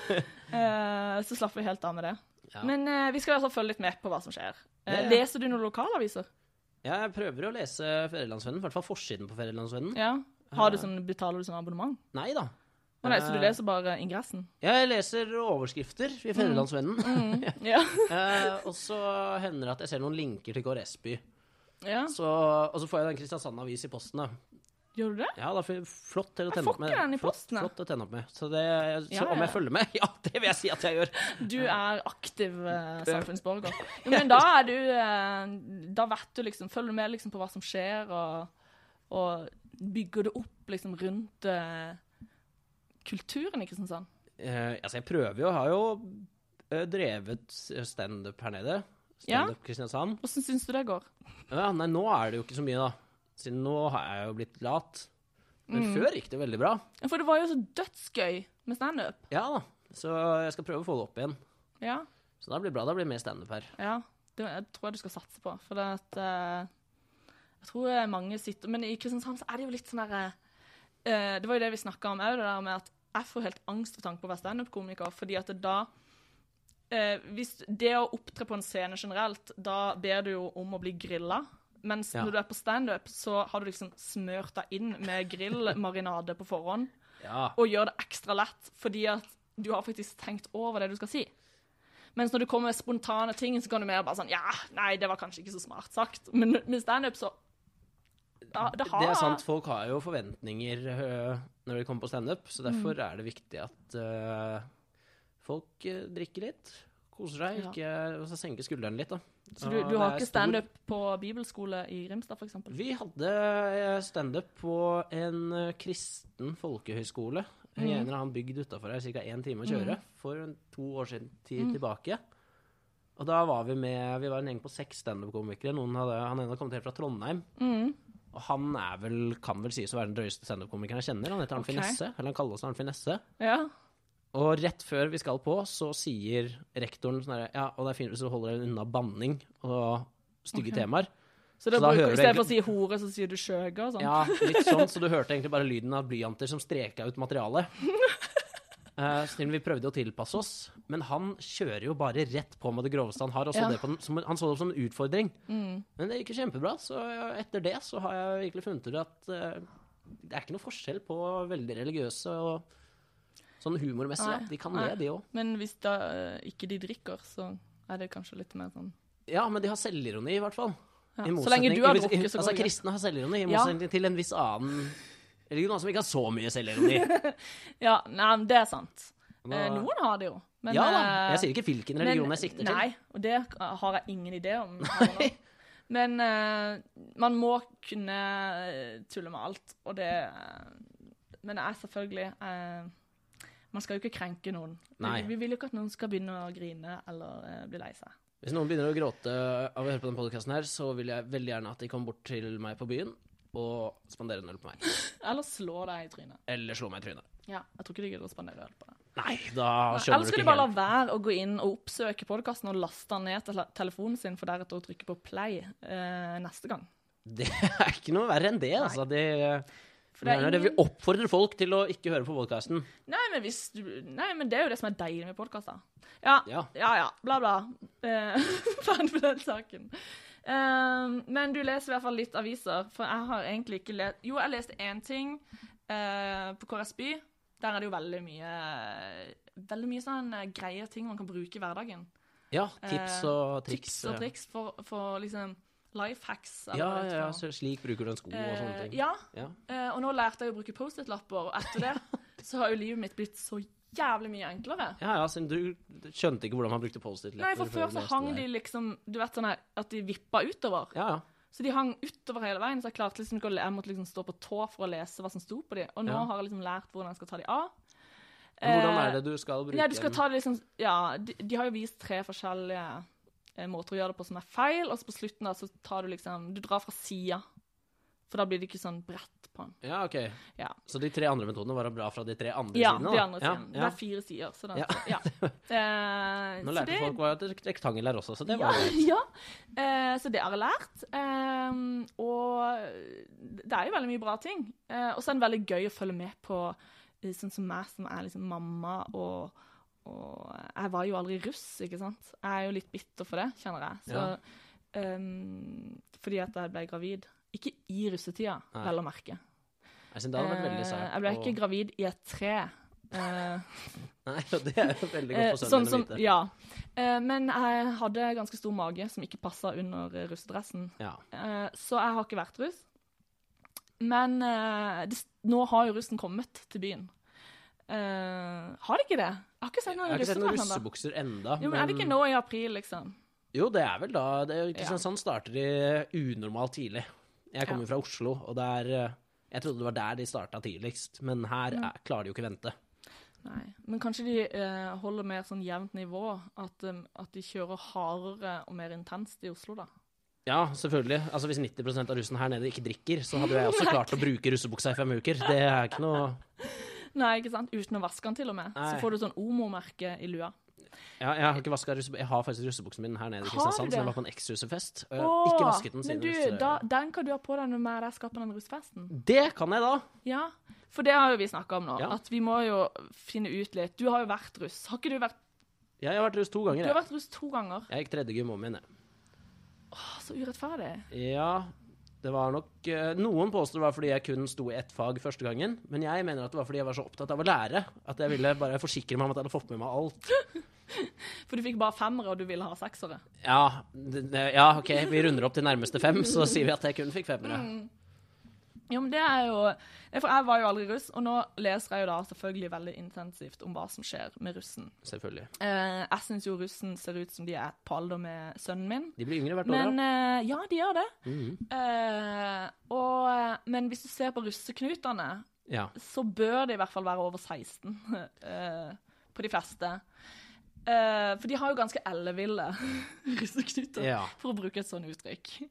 Speaker 1: uka. Eh, så slapper vi helt av med det.
Speaker 2: Ja.
Speaker 1: Men eh, vi skal i hvert fall følge litt med på hva som skjer. Eh,
Speaker 2: Ja, ja.
Speaker 1: Leser du noen lokalaviser?
Speaker 2: Jeg prøver å lese Fedrelandsvennen, i hvert fall forsiden på Fedrelandsvennen.
Speaker 1: Ja. Har du sånn, betaler du sånn abonnement?
Speaker 2: Nei da.
Speaker 1: Å nei, så du Mm.
Speaker 2: Eh,
Speaker 1: leser bare ingressen?
Speaker 2: Jeg leser overskrifter i Fedrelandsvennen.
Speaker 1: Ja.
Speaker 2: Eh, og så hender det at jeg ser noen linker til KRS-by.
Speaker 1: ja.
Speaker 2: Så, og så får jeg den Kristiansand Avis i posten, da.
Speaker 1: Gjør du det?
Speaker 2: Ja, da får jeg flott til å
Speaker 1: Jeg
Speaker 2: tenne
Speaker 1: får
Speaker 2: opp med.
Speaker 1: ikke den i
Speaker 2: Flott-
Speaker 1: posten, jeg.
Speaker 2: Flott, å tenne opp med. Så, det, så
Speaker 1: Ja,
Speaker 2: om jeg
Speaker 1: ja.
Speaker 2: følger med? Ja, det vil jeg si at jeg gjør.
Speaker 1: Du er aktiv eh, samfunnsborger. Jo, men da er du eh, Da vet du liksom Følger du med liksom på hva som skjer, og, og bygger det opp liksom rundt eh, kulturen i Kristiansand?
Speaker 2: Eh, altså, jeg prøver jo. Jeg har jo eh, drevet standup her nede.
Speaker 1: Ja.
Speaker 2: Standup Kristiansand.
Speaker 1: Hvordan syns du det går?
Speaker 2: Ja, nei, nå er det jo ikke så mye, da. Siden nå har jeg jo blitt lat. Men
Speaker 1: Mm.
Speaker 2: før gikk det veldig bra.
Speaker 1: For det var jo så dødsgøy med standup.
Speaker 2: Ja da. Så jeg skal prøve å få det opp igjen.
Speaker 1: Ja.
Speaker 2: Så da blir det bra. Da blir det mer standup her.
Speaker 1: ja. Det jeg tror jeg du skal satse på. For det at eh, Jeg tror eh, mange sitter Men i Kristiansand så er det jo litt sånn derre eh, Det var jo det vi snakka om òg, det der med at jeg får helt angst ved tanken på å være standup-komiker, fordi at det da eh, hvis Det å opptre på en scene generelt, da ber du jo om å bli grilla. Mens
Speaker 2: Ja.
Speaker 1: når du er på standup, så har du liksom smørt deg inn med grillmarinade på forhånd.
Speaker 2: Ja.
Speaker 1: og gjør det ekstra lett, fordi at du har faktisk tenkt over det du skal si. Mens når du kommer med spontane ting, så kan du mer bare sånn Ja, nei, det var kanskje ikke så smart sagt. Men med standup, så da, det, har,
Speaker 2: Det er sant. Folk har jo forventninger øh, når de kommer på standup, så derfor
Speaker 1: Mm.
Speaker 2: er det viktig at øh, folk øh, drikker litt, koser seg,
Speaker 1: Ja.
Speaker 2: ikke, og så senker skuldrene litt, da.
Speaker 1: Så du,
Speaker 2: Og
Speaker 1: du
Speaker 2: det
Speaker 1: har
Speaker 2: er
Speaker 1: ikke
Speaker 2: stor-
Speaker 1: standup på bibelskole i Grimstad, f.eks.?
Speaker 2: Vi hadde øh, standup på en øh, kristen folkehøyskole i en eller annen bygd utafor her, ca. én time å kjøre, for en- to år siden tid tilbake. Og da var vi med Vi var en gjeng på seks standup-komikere. Noen hadde, han ene hadde kommet helt fra Trondheim. Og han er vel, kan vel sies å være den drøyeste standup-komikeren jeg kjenner. Han heter Arnfinn
Speaker 1: Ok.
Speaker 2: Nesse. Eller han kalles Arnfinn Nesse.
Speaker 1: Ja.
Speaker 2: Og rett før vi skal på, så sier rektoren sånn herre Ja, og det er fint hvis du holder deg unna banning og stygge temaer.
Speaker 1: Så, da
Speaker 2: da
Speaker 1: bruker
Speaker 2: hører du
Speaker 1: du istedenfor å si hore, så sier du skjøge og sånn?
Speaker 2: Ja, litt sånn, så du hørte egentlig bare lyden av blyanter som streka ut materialet. Eh, så vi prøvde å tilpasse oss, men han kjører jo bare rett på med det groveste han har. Og så
Speaker 1: Ja. Mm.
Speaker 2: det på den, som, han så det som en utfordring. Men det gikk jo kjempebra, så etter det så har jeg egentlig funnet ut at eh, det er ikke noe forskjell på veldig religiøse og sånn humormessig.
Speaker 1: Nei,
Speaker 2: da. De kan
Speaker 1: nei.
Speaker 2: det, de òg.
Speaker 1: Men hvis da eh, ikke de drikker, så er det kanskje litt mer sånn
Speaker 2: Ja, men de har selvironi, i hvert fall.
Speaker 1: ja.
Speaker 2: I
Speaker 1: Så lenge
Speaker 2: motsetning-
Speaker 1: du har
Speaker 2: i- i-
Speaker 1: drukket, så går
Speaker 2: Altså,
Speaker 1: det greit.
Speaker 2: kristne har selvironi,
Speaker 1: Ja.
Speaker 2: i motsetning til en viss annen religion altså, som ikke har så mye selvironi.
Speaker 1: Ja, nei, men det er sant.
Speaker 2: Da-
Speaker 1: Eh, Noen har det jo, men
Speaker 2: ja da.
Speaker 1: eh,
Speaker 2: Jeg sier ikke hvilken religion jeg sikter til.
Speaker 1: nei, og det har jeg ingen idé om. her og nå. Men eh, man må kunne eh, tulle med alt, og det eh, Men det er selvfølgelig eh, Man skal jo ikke krenke noen.
Speaker 2: Nei.
Speaker 1: Vi, vi vil jo ikke at noen skal begynne å grine eller eh, bli lei seg.
Speaker 2: Hvis noen begynner å gråte av å høre på denne podkasten her, så vil jeg veldig gjerne at de kommer bort til meg på byen og spanderer en øl på meg.
Speaker 1: Eller slå deg i trynet.
Speaker 2: Eller slår meg i trynet.
Speaker 1: Ja, Jeg tror ikke de gidder å spandere øl på deg.
Speaker 2: Nei, da
Speaker 1: Eller
Speaker 2: skjønner du
Speaker 1: skal de
Speaker 2: ikke
Speaker 1: bare la
Speaker 2: helt.
Speaker 1: være å gå inn og oppsøke podkasten og laste den ned til tele- telefonen sin, for deretter å trykke på play eh, neste gang?
Speaker 2: Det er ikke noe verre enn det, altså. Det,
Speaker 1: For det er
Speaker 2: Nei, nei, det-
Speaker 1: ingen-
Speaker 2: Vi oppfordrer folk til å ikke høre på podkasten.
Speaker 1: Nei men, hvis du, nei, men det er jo det som er deilig med podkaster. Ja,
Speaker 2: Ja.
Speaker 1: ja, ja, bla, bla. Eh, Ferdig med den saken. Eh, men du leser i hvert fall litt aviser, for jeg har egentlig ikke lest Jo, jeg leste én ting eh, på KRS By. Der er det jo veldig mye Veldig mye sånn eh, greie ting man kan bruke i hverdagen.
Speaker 2: Ja, tips
Speaker 1: Eh,
Speaker 2: og triks.
Speaker 1: Tips og triks for, for liksom life hacks.
Speaker 2: Ja, ja, ja, så slik bruker du en sko og sånne ting.
Speaker 1: Eh, ja,
Speaker 2: Ja.
Speaker 1: eh, og nå lærte jeg å bruke Post-It-lapper, og etter det så har jo livet mitt blitt så jævlig mye enklere.
Speaker 2: Ja, ja, siden du skjønte ikke hvordan man brukte
Speaker 1: Nei,
Speaker 2: Post-It-lepper.
Speaker 1: for før så hang de liksom Du vet sånn her at de vippa utover.
Speaker 2: Ja, ja.
Speaker 1: Så de hang utover hele veien, så jeg klarte liksom ikke å le- Jeg måtte liksom stå på tå for å lese hva som sto på de. Og nå
Speaker 2: Ja.
Speaker 1: har jeg liksom lært hvordan jeg skal ta de av.
Speaker 2: Men hvordan er det du skal bruke
Speaker 1: Eh, Nei, du skal
Speaker 2: dem?
Speaker 1: ta det liksom Ja, de, de har jo vist tre forskjellige eh, måter å gjøre det på som er feil, og så på slutten da så tar du liksom Du drar fra sida. For da blir det ikke sånn bredt på den.
Speaker 2: Ja, ok.
Speaker 1: Ja.
Speaker 2: Så de tre andre metodene var bra fra de tre andre
Speaker 1: Ja,
Speaker 2: sidene? da?
Speaker 1: de andre
Speaker 2: Ja,
Speaker 1: siden. Det
Speaker 2: ja.
Speaker 1: er fire sider, så da
Speaker 2: Ja.
Speaker 1: ja. Eh,
Speaker 2: Nå
Speaker 1: så
Speaker 2: lærte
Speaker 1: det-
Speaker 2: folk hva et rektangel er også, så det
Speaker 1: ja,
Speaker 2: var jo
Speaker 1: ja. Eh, så det har jeg lært. Eh, og det er jo veldig mye bra ting. Eh, og så er det veldig gøy å følge med på eh, sånn som meg, som er liksom mamma og, og Jeg var jo aldri russ, ikke sant. Jeg er jo litt bitter for det, kjenner jeg. Så,
Speaker 2: Ja.
Speaker 1: ehm, fordi at jeg ble gravid. Ikke i russetida,
Speaker 2: Nei.
Speaker 1: vel å merke.
Speaker 2: Jeg synes det hadde vært veldig
Speaker 1: Eh,
Speaker 2: sært.
Speaker 1: jeg ble
Speaker 2: å-
Speaker 1: ikke gravid i et tre. Eh,
Speaker 2: Nei, og det er jo veldig
Speaker 1: Eh,
Speaker 2: godt for
Speaker 1: sånn
Speaker 2: sønnen din
Speaker 1: som,
Speaker 2: å vite.
Speaker 1: ja. Eh, men jeg hadde ganske stor mage som ikke passa under eh, russedressen.
Speaker 2: Ja.
Speaker 1: Eh, så jeg har ikke vært russ. Men eh, det, s- nå har jo russen kommet til byen. Eh, har de ikke det? Jeg har ikke sett
Speaker 2: Jeg
Speaker 1: noen
Speaker 2: har ikke sett noen
Speaker 1: russedress ennå.
Speaker 2: russebukser enda.
Speaker 1: Jo, men er det ikke nå i april, liksom?
Speaker 2: Jo, det er vel da det, er jo
Speaker 1: Ja.
Speaker 2: Kristiansand starter i unormalt tidlig. Jeg kommer jo fra Oslo, og det er eh, Jeg trodde det var der de starta tidligst, men her
Speaker 1: Mm.
Speaker 2: er, klarer de jo ikke vente.
Speaker 1: Nei. Men kanskje de eh, holder mer sånn jevnt nivå? At, eh, at de kjører hardere og mer intenst i Oslo, da?
Speaker 2: Ja, selvfølgelig. Altså Hvis 90 av russen her nede ikke drikker, så hadde jo jeg også klart å bruke russebuksa i fem uker. Det er ikke noe
Speaker 1: Nei, ikke sant? Uten å vaske den, til og med.
Speaker 2: Nei.
Speaker 1: Så får du sånn Omo-merke i lua.
Speaker 2: Ja, jeg har ikke vasket russebuksa Jeg har faktisk russebuksen min her nede
Speaker 1: Har
Speaker 2: i
Speaker 1: du
Speaker 2: Kristiansand,
Speaker 1: det?
Speaker 2: som jeg var på en ekstrahusefest. Og jeg har ikke
Speaker 1: Åh,
Speaker 2: vasket den siden.
Speaker 1: Men du,
Speaker 2: russe-
Speaker 1: da, den kan du ha på deg når vi er der skal på den russefesten.
Speaker 2: Det kan jeg da!
Speaker 1: Ja, for det har jo vi snakka om nå.
Speaker 2: Ja.
Speaker 1: At vi må jo finne ut litt. Du har jo vært russ. Har ikke du vært
Speaker 2: Jeg har vært russ to
Speaker 1: Du
Speaker 2: ganger.
Speaker 1: har
Speaker 2: Jeg,
Speaker 1: vært russ to ganger.
Speaker 2: jeg gikk tredje gym om igjen, jeg.
Speaker 1: Åh, så urettferdig.
Speaker 2: Ja, det var nok eh, Noen påstår det var fordi jeg kun sto i ett fag første gangen, men jeg mener at det var fordi jeg var så opptatt av å lære at jeg ville bare forsikre meg om at jeg hadde fått med meg alt.
Speaker 1: For du fikk bare femmere, og du ville ha seksere.
Speaker 2: Ja, det, det- ja OK, vi runder opp til nærmeste fem, så sier vi at jeg kun fikk femmere.
Speaker 1: Jo, Mm. men det er jo Nei, For jeg var jo aldri russ, og nå leser jeg jo da selvfølgelig veldig intensivt om hva som skjer med russen.
Speaker 2: Selvfølgelig.
Speaker 1: Eh, jeg syns jo russen ser ut som de er på alder med sønnen min.
Speaker 2: De blir yngre hvert år,
Speaker 1: Men
Speaker 2: da.
Speaker 1: eh, ja, de gjør det.
Speaker 2: Mhm.
Speaker 1: Eh, og, men hvis du ser på russeknutene,
Speaker 2: Ja.
Speaker 1: så bør det i hvert fall være over 16 eh, på de fleste. Eh, for de har jo ganske elleville russeknuter,
Speaker 2: Ja.
Speaker 1: for å bruke et sånt uttrykk.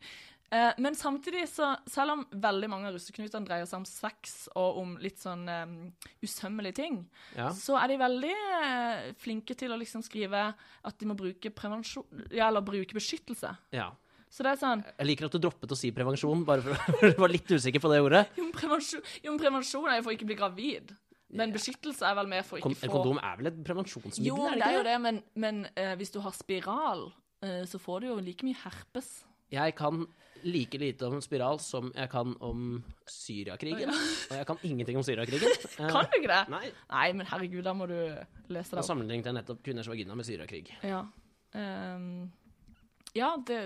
Speaker 1: Eh, men samtidig, så, selv om veldig mange av russeknutene dreier seg om sex og om litt sånn eh, usømmelige ting,
Speaker 2: ja.
Speaker 1: så er de veldig eh, flinke til å liksom skrive at de må bruke prevensjon Ja, eller bruke beskyttelse.
Speaker 2: ja.
Speaker 1: Så det er sånn
Speaker 2: Jeg liker at du droppet å si prevensjon, bare for du var litt usikker på det ordet.
Speaker 1: Jo, men prevensjon, jo, men prevensjon er jo for å ikke bli gravid. Men beskyttelse er vel mer for å
Speaker 2: Kon
Speaker 1: ikke få
Speaker 2: kondom er vel et prevensjonsmiddel?
Speaker 1: Jo,
Speaker 2: er
Speaker 1: det
Speaker 2: det
Speaker 1: er jo
Speaker 2: ikke det?
Speaker 1: det, men, men eh, hvis du har spiral, eh, så får du jo like mye herpes.
Speaker 2: Jeg kan like lite om spiral som jeg kan om Syriakrigen. Og jeg kan ingenting om Syriakrigen. Eh,
Speaker 1: Kan du ikke det?
Speaker 2: Nei.
Speaker 1: Nei, men herregud, da må du lese
Speaker 2: Da
Speaker 1: det opp.
Speaker 2: sammenlignet jeg nettopp kvinners vagina med Syriakrig.
Speaker 1: Ja, Ehm, ja det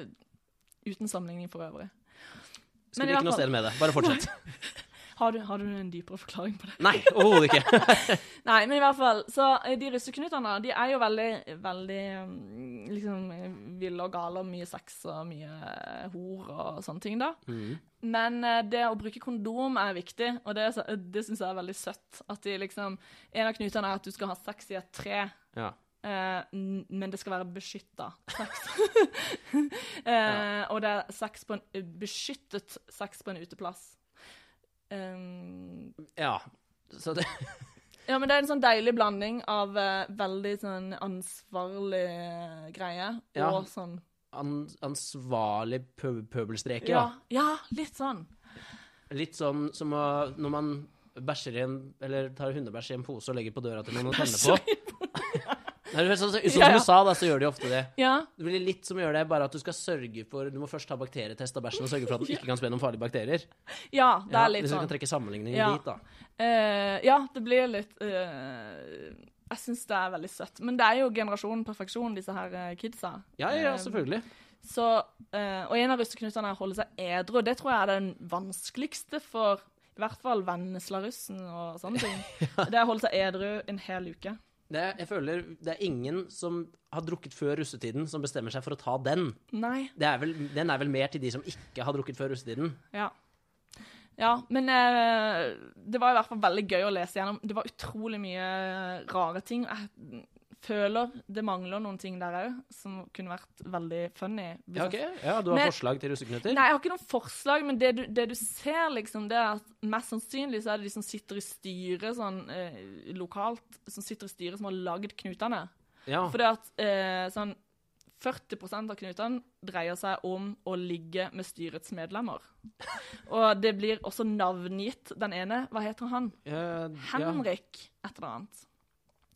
Speaker 1: Uten sammenligning for øvrig. Men i
Speaker 2: Skulle ikke
Speaker 1: hvert
Speaker 2: noe
Speaker 1: fall-
Speaker 2: sted med det. Bare fortsett.
Speaker 1: Har du, har du en dypere forklaring på det?
Speaker 2: Nei, overhodet ikke.
Speaker 1: Nei, men i hvert fall, så eh, de russeknutene, de er jo veldig, veldig mm, liksom eh, ville og gale og mye sex og mye eh, hor og sånne ting da. Men eh, det å bruke kondom er viktig, og det, er så- det synes jeg er veldig søtt. At de liksom, en av knutene er at du skal ha sex i et tre,
Speaker 2: Ja.
Speaker 1: eh, n- men det skal være beskyttet sex. eh, Og det er sex på en, beskyttet sex på en uteplass. Um,
Speaker 2: ja. Så det,
Speaker 1: ja, men det er en sånn deilig blanding av eh, veldig sånn ansvarlig eh, greie
Speaker 2: Ja.
Speaker 1: og sånn
Speaker 2: an, ansvarlig pø pøbelstreke,
Speaker 1: ja,
Speaker 2: da.
Speaker 1: ja, litt sånn.
Speaker 2: Litt sånn som å, når man bæsjer i en Eller tar hundebæsj i en pose og legger på døra til noen og tenner på. Det er jo sånn, sånn,
Speaker 1: Ja,
Speaker 2: som
Speaker 1: ja.
Speaker 2: du sa, da, så gjør de ofte det.
Speaker 1: Ja.
Speaker 2: Det blir litt som gjør det, bare at du skal sørge for Du må først ta bakterietest av bæsjen og sørge for at den ikke kan spre noen farlige bakterier.
Speaker 1: ja, det
Speaker 2: Ja,
Speaker 1: er litt
Speaker 2: hvis du
Speaker 1: sånn.
Speaker 2: kan trekke sammenligninger
Speaker 1: Ja.
Speaker 2: dit, da.
Speaker 1: Eh, ja, det blir litt eh, Jeg syns det er veldig søtt. Men det er jo generasjon perfeksjon, disse her eh, kidsa.
Speaker 2: Ja, ja, ja,
Speaker 1: Eh,
Speaker 2: selvfølgelig.
Speaker 1: Så, eh, og en av russeknutene er å holde seg edru. Det tror jeg er den vanskeligste for i hvert fall Vennesla-russen og sånne ting. Det er å holde seg edru en hel uke.
Speaker 2: Det, er- jeg føler det er ingen som har drukket før russetiden, som bestemmer seg for å ta den.
Speaker 1: Nei.
Speaker 2: Det er vel, den er vel mer til de som ikke har drukket før russetiden.
Speaker 1: Ja. Ja, men eh, det var i hvert fall veldig gøy å lese gjennom. Det var utrolig mye eh, rare ting. Jeg føler det mangler noen ting der òg, som kunne vært veldig funny. hvis
Speaker 2: Ja,
Speaker 1: jeg
Speaker 2: ok. ja Du har
Speaker 1: Men-
Speaker 2: forslag til russeknuter?
Speaker 1: Nei, jeg har ikke noen forslag, men det du, det du ser, liksom, det er at mest sannsynlig så er det de som sitter i styret sånn eh, lokalt, som sitter i styret som har lagd knutene.
Speaker 2: Ja.
Speaker 1: Fordi at eh, sånn 40 av knutene dreier seg om å ligge med styrets medlemmer. Og det blir også navngitt den ene. Hva heter han?
Speaker 2: Eh, ja.
Speaker 1: Henrik, et eller annet.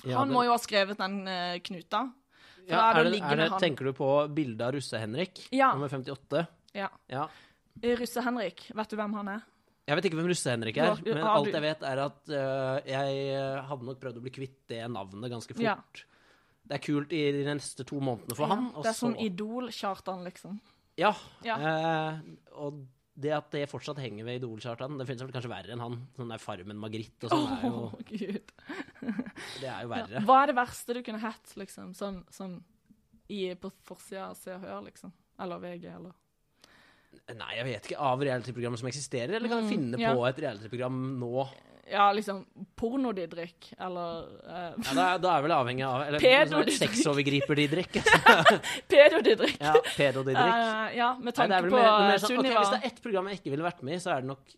Speaker 2: Ja,
Speaker 1: Han
Speaker 2: det-
Speaker 1: må jo ha skrevet den eh, knuta. For
Speaker 2: ja,
Speaker 1: da
Speaker 2: er
Speaker 1: er det å
Speaker 2: det,
Speaker 1: ligge
Speaker 2: er det,
Speaker 1: med han.
Speaker 2: Tenker du på bildet av Russe-Henrik?
Speaker 1: Ja.
Speaker 2: Nummer 58?
Speaker 1: Ja.
Speaker 2: Ja.
Speaker 1: Russe-Henrik, vet du hvem han er?
Speaker 2: Jeg vet ikke hvem Russe-Henrik
Speaker 1: Du
Speaker 2: er,
Speaker 1: har-
Speaker 2: men
Speaker 1: har
Speaker 2: alt
Speaker 1: du-
Speaker 2: jeg vet, er at øh, jeg øh, hadde nok prøvd å bli kvitt det navnet ganske fort.
Speaker 1: Ja.
Speaker 2: Det er kult i de neste to månedene for ham.
Speaker 1: Ja,
Speaker 2: Og
Speaker 1: det er
Speaker 2: så,
Speaker 1: sånn Idol-Kjartan, liksom.
Speaker 2: ja,
Speaker 1: Ja.
Speaker 2: eh, og det at det fortsatt henger ved Idol-Kjartan, det finnes vel kanskje verre enn han. Sånn der Farmen Margrit og sånn, er jo,
Speaker 1: Åh, Gud.
Speaker 2: det er jo verre.
Speaker 1: Hva er det verste du kunne hett, liksom? Sånn, sånn i, på forsida av Se og Hør, liksom? Eller VG, eller
Speaker 2: Nei, jeg vet ikke. Av realityprogrammet som eksisterer, eller kan jeg
Speaker 1: Mm,
Speaker 2: finne
Speaker 1: ja.
Speaker 2: på et realityprogram nå?
Speaker 1: Ja, liksom pornodidrik, eller eh,
Speaker 2: Ja, da, da er vel avhengig av Eller
Speaker 1: Pedo-
Speaker 2: sånn sexovergriper de drikker.
Speaker 1: pedodidrik.
Speaker 2: Ja, pedo de drikker.
Speaker 1: Eh, ja, med
Speaker 2: Nei, det
Speaker 1: tanke
Speaker 2: er vel
Speaker 1: på eh,
Speaker 2: mer- mer sånn, ok,
Speaker 1: Sunniva.
Speaker 2: hvis det er ett program jeg ikke ville vært med i, så er det nok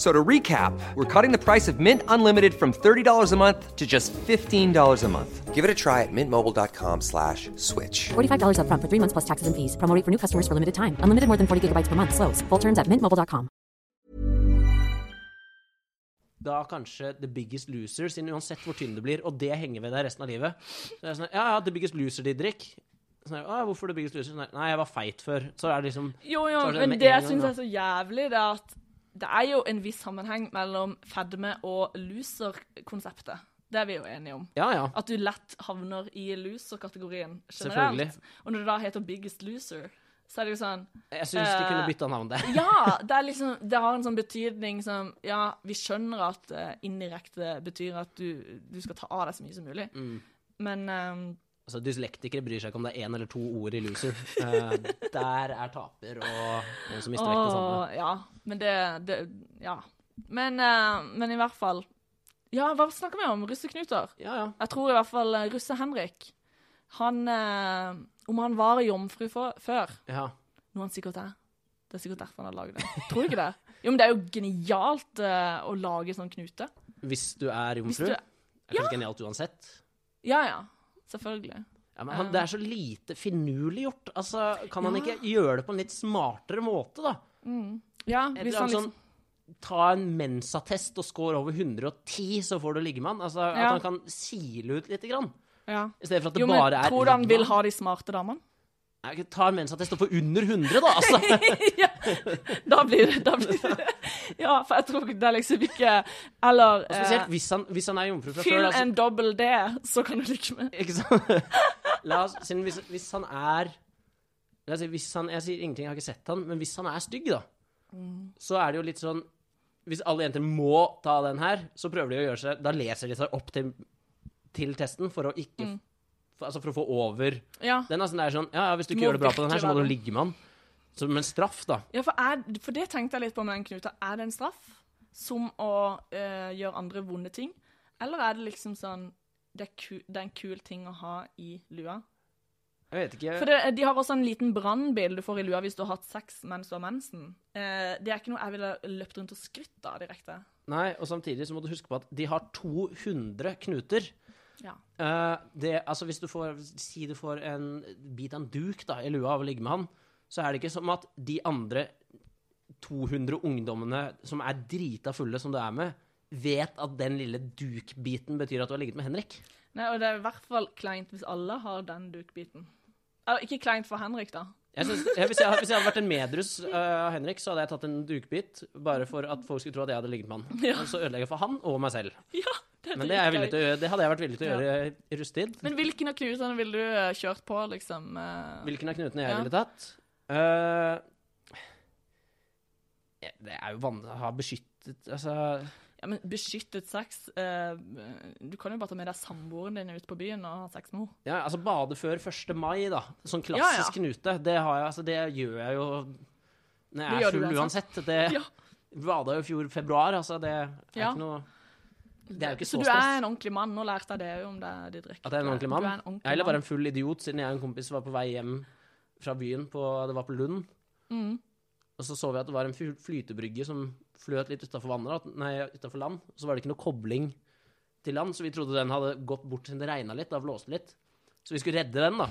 Speaker 3: So to recap, we're cutting the price of Mint Unlimited from $30 a month to just $15 a month.
Speaker 4: Give it a try at mintmobile.com slash switch.
Speaker 5: $45 upfront for three months plus taxes and fees. Promoting for new customers for limited time. Unlimited more than 40 gigabytes per month. Slows. Full terms at mintmobile.com.
Speaker 2: da kanskje The Biggest Loser, siden uansett hvor tynn du blir, og det henger ved deg resten av livet. Så det er sånn, ja, ja, The Biggest Loser, Didrik. Sånn, «Å, hvorfor The Biggest Loser? Sånn, Nei, jeg var feit før. Så er det liksom
Speaker 1: Jo, jo,
Speaker 2: Så er det
Speaker 1: men
Speaker 2: med
Speaker 1: det
Speaker 2: en
Speaker 1: jeg
Speaker 2: gang,
Speaker 1: syns
Speaker 2: da.
Speaker 1: er så jævlig, det er at det er jo en viss sammenheng mellom fedme og loser-konseptet. Det er vi jo enige om.
Speaker 2: Ja, ja.
Speaker 1: At du lett havner i loser-kategorien
Speaker 2: Selvfølgelig.
Speaker 1: generelt. Og når du da heter Biggest Loser, så er det jo sånn
Speaker 2: Jeg syns de kunne
Speaker 1: Eh,
Speaker 2: bytta navn der.
Speaker 1: Ja! Det, er liksom, det har en sånn betydning som Ja, vi skjønner at eh, indirekte betyr at du, du skal ta av deg så mye som mulig, men eh,
Speaker 2: Altså, dyslektikere bryr seg ikke om det er én eller to ord i Loser. Eh, der er taper og noen som mister vekt og sånn.
Speaker 1: Åh, ja. Men det, det Ja. Men, eh, men i hvert fall Ja, hva snakker vi om? Russeknuter?
Speaker 2: Ja, ja.
Speaker 1: Jeg tror i hvert fall eh, russe-Henrik Han eh, Om han var jomfru for, før
Speaker 2: ja.
Speaker 1: Noe han sikkert er. Det er sikkert derfor han har laget det. Tror du ikke det? Jo, men det er jo genialt eh, å lage sånn knute.
Speaker 2: Hvis du er
Speaker 1: Hvis
Speaker 2: jomfru.
Speaker 1: du
Speaker 2: Det er kanskje genialt uansett.
Speaker 1: Ja, ja. Selvfølgelig.
Speaker 2: Ja, men han, det er så lite finurlig gjort. Altså, kan han ikke gjøre det på en litt smartere måte, da?
Speaker 1: Ja,
Speaker 2: Et
Speaker 1: hvis
Speaker 2: eller
Speaker 1: han
Speaker 2: annet
Speaker 1: liksom
Speaker 2: sånn Ta en mensattest og score over 110, så får du liggemann. Altså,
Speaker 1: Ja.
Speaker 2: At han kan sile ut lite grann.
Speaker 1: ja.
Speaker 2: I stedet for at det
Speaker 1: sånn- Jo, men
Speaker 2: bare er
Speaker 1: tror du han vil
Speaker 2: liggemann.
Speaker 1: ha de smarte damene?
Speaker 2: Nei, ikke Ta en mensattest og få under 100, da! Altså.
Speaker 1: ja, da blir det da blir det. Ja, for jeg tror ikke det er liksom ikke Eller
Speaker 2: Og
Speaker 1: eh,
Speaker 2: Spesielt hvis han, hvis han er jomfru fra
Speaker 1: Fyll
Speaker 2: før. Altså,
Speaker 1: en dobbel D, så kan du ligge med.
Speaker 2: ikke sant? La oss, siden hvis, hvis han er la oss si, hvis han, Jeg sier ingenting, jeg har ikke sett han, men hvis han er stygg, da, så er det jo litt sånn Hvis alle jenter må ta den her, så prøver de å gjøre seg Da leser de seg opp til, til testen for å ikke for, Altså for å få over
Speaker 1: Ja.
Speaker 2: Den er sånn, det er sånn ja, ja, Hvis du ikke
Speaker 1: Må
Speaker 2: gjør det bra på den her, så må
Speaker 1: virkelig
Speaker 2: du
Speaker 1: være.
Speaker 2: ligge med han. Som en straff, da.
Speaker 1: Ja, for, er, for det tenkte jeg litt på med den knuta. Er det en straff som å eh, gjøre andre vonde ting? Eller er det liksom sånn det er, ku, det er en kul ting å ha i lua?
Speaker 2: Jeg vet ikke.
Speaker 1: For det, de har også en liten brannbil du får i lua hvis du har hatt sex mens du har mensen. Eh, det er ikke noe jeg ville løpt rundt og skrytt av direkte.
Speaker 2: Nei, og samtidig så må du huske på at de har 200 knuter.
Speaker 1: Ja.
Speaker 2: Eh, det, altså hvis du får, si du får en bit av en duk da, i lua av å ligge med han, så er det ikke som at de andre 200 ungdommene som er drita fulle som du er med, vet at den lille dukbiten betyr at du har ligget med Henrik.
Speaker 1: Nei, og det er i hvert fall kleint hvis alle har den dukbiten. Eller ikke kleint for Henrik, da.
Speaker 2: Jeg synes, jeg, hvis, jeg, hvis jeg hadde vært en medrus eh, av Henrik, så hadde jeg tatt en dukbit bare for at folk skulle tro at jeg hadde ligget med han.
Speaker 1: Ja.
Speaker 2: Og Så ødelegger jeg for han og meg selv.
Speaker 1: Ja,
Speaker 2: Men det, er jeg villig til å gjøre, det hadde jeg vært villig til å
Speaker 1: Ja.
Speaker 2: gjøre i rusttid.
Speaker 1: Men hvilken av knutene ville du eh, kjørt på, liksom? eh?
Speaker 2: Hvilken av knutene jeg
Speaker 1: Ja.
Speaker 2: ville tatt? Eh, ja, det er jo vanlig å ha beskyttet Altså
Speaker 1: Ja, men beskyttet sex eh, Du kan jo bare ta med deg samboeren din ut på byen og ha sex med henne.
Speaker 2: ja, altså bade før 1. mai, da. Sånn
Speaker 1: Ja, ja.
Speaker 2: klassisk knute. Det, har jeg, altså, det gjør jeg jo når
Speaker 1: Det
Speaker 2: jeg
Speaker 1: gjør
Speaker 2: er
Speaker 1: du
Speaker 2: full
Speaker 1: uansett.
Speaker 2: uansett. Det
Speaker 1: Ja.
Speaker 2: bada jo i fjor februar, altså. Det er
Speaker 1: Ja.
Speaker 2: ikke noe Det er jo ikke
Speaker 1: Så du
Speaker 2: så, stress.
Speaker 1: er en ordentlig mann. Nå lærte jeg det jo om deg, Didrik.
Speaker 2: At jeg er en ordentlig mann?
Speaker 1: Du er en ordentlig
Speaker 2: Jeg er heller bare
Speaker 1: mann.
Speaker 2: en full idiot, siden jeg og en kompis var på vei hjem fra byen på, Det var på Lund.
Speaker 1: Mm.
Speaker 2: Og så så vi at det var en fly- flytebrygge som fløt litt utafor land. Og så var det ikke noe kobling til land, så vi trodde den hadde gått bort siden det regna litt. Da blåste det litt. Så vi skulle redde den, da.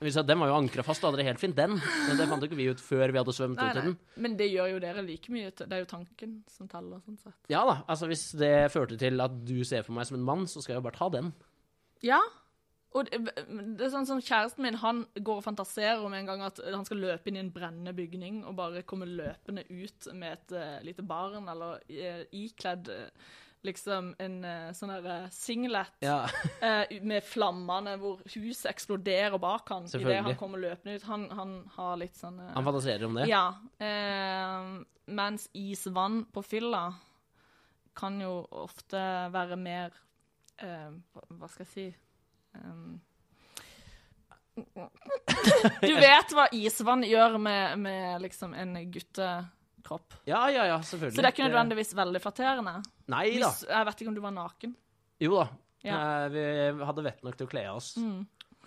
Speaker 2: Men vi sa at den var jo ankra fast, da hadde det helt fint, den. Men det fant jo ikke vi ut før vi hadde svømt ut i
Speaker 1: Nei,
Speaker 2: den.
Speaker 1: nei. Men det gjør jo dere like mye. Det er jo tanken som teller, sånn sett.
Speaker 2: Ja da, altså hvis det førte til at du ser på meg som en mann, så skal jeg jo bare ta den.
Speaker 1: Ja. Og det, det er sånn som kjæresten min, han går og fantaserer om en gang at han skal løpe inn i en brennende bygning og bare komme løpende ut med et eh, lite barn, eller eh, ikledd eh, liksom en eh, sånn derre singlet. eh, med flammene hvor huset eksploderer bak han idet
Speaker 2: Selvfølgelig.
Speaker 1: han kommer løpende ut. Han, han har litt sånn eh,
Speaker 2: Han fantaserer om det.
Speaker 1: Ja. Eh, mens isvann på fylla kan jo ofte være mer eh, hva- Hva skal jeg si Eh, Em, Du vet hva isvann gjør med, med liksom en guttekropp.
Speaker 2: Ja, ja, ja, selvfølgelig.
Speaker 1: Så det er ikke nødvendigvis veldig flatterende.
Speaker 2: Nei da.
Speaker 1: Hvis, jeg vet ikke om du var naken.
Speaker 2: Jo da.
Speaker 1: Ja.
Speaker 2: Eh, Vi hadde vett nok til å kle av oss.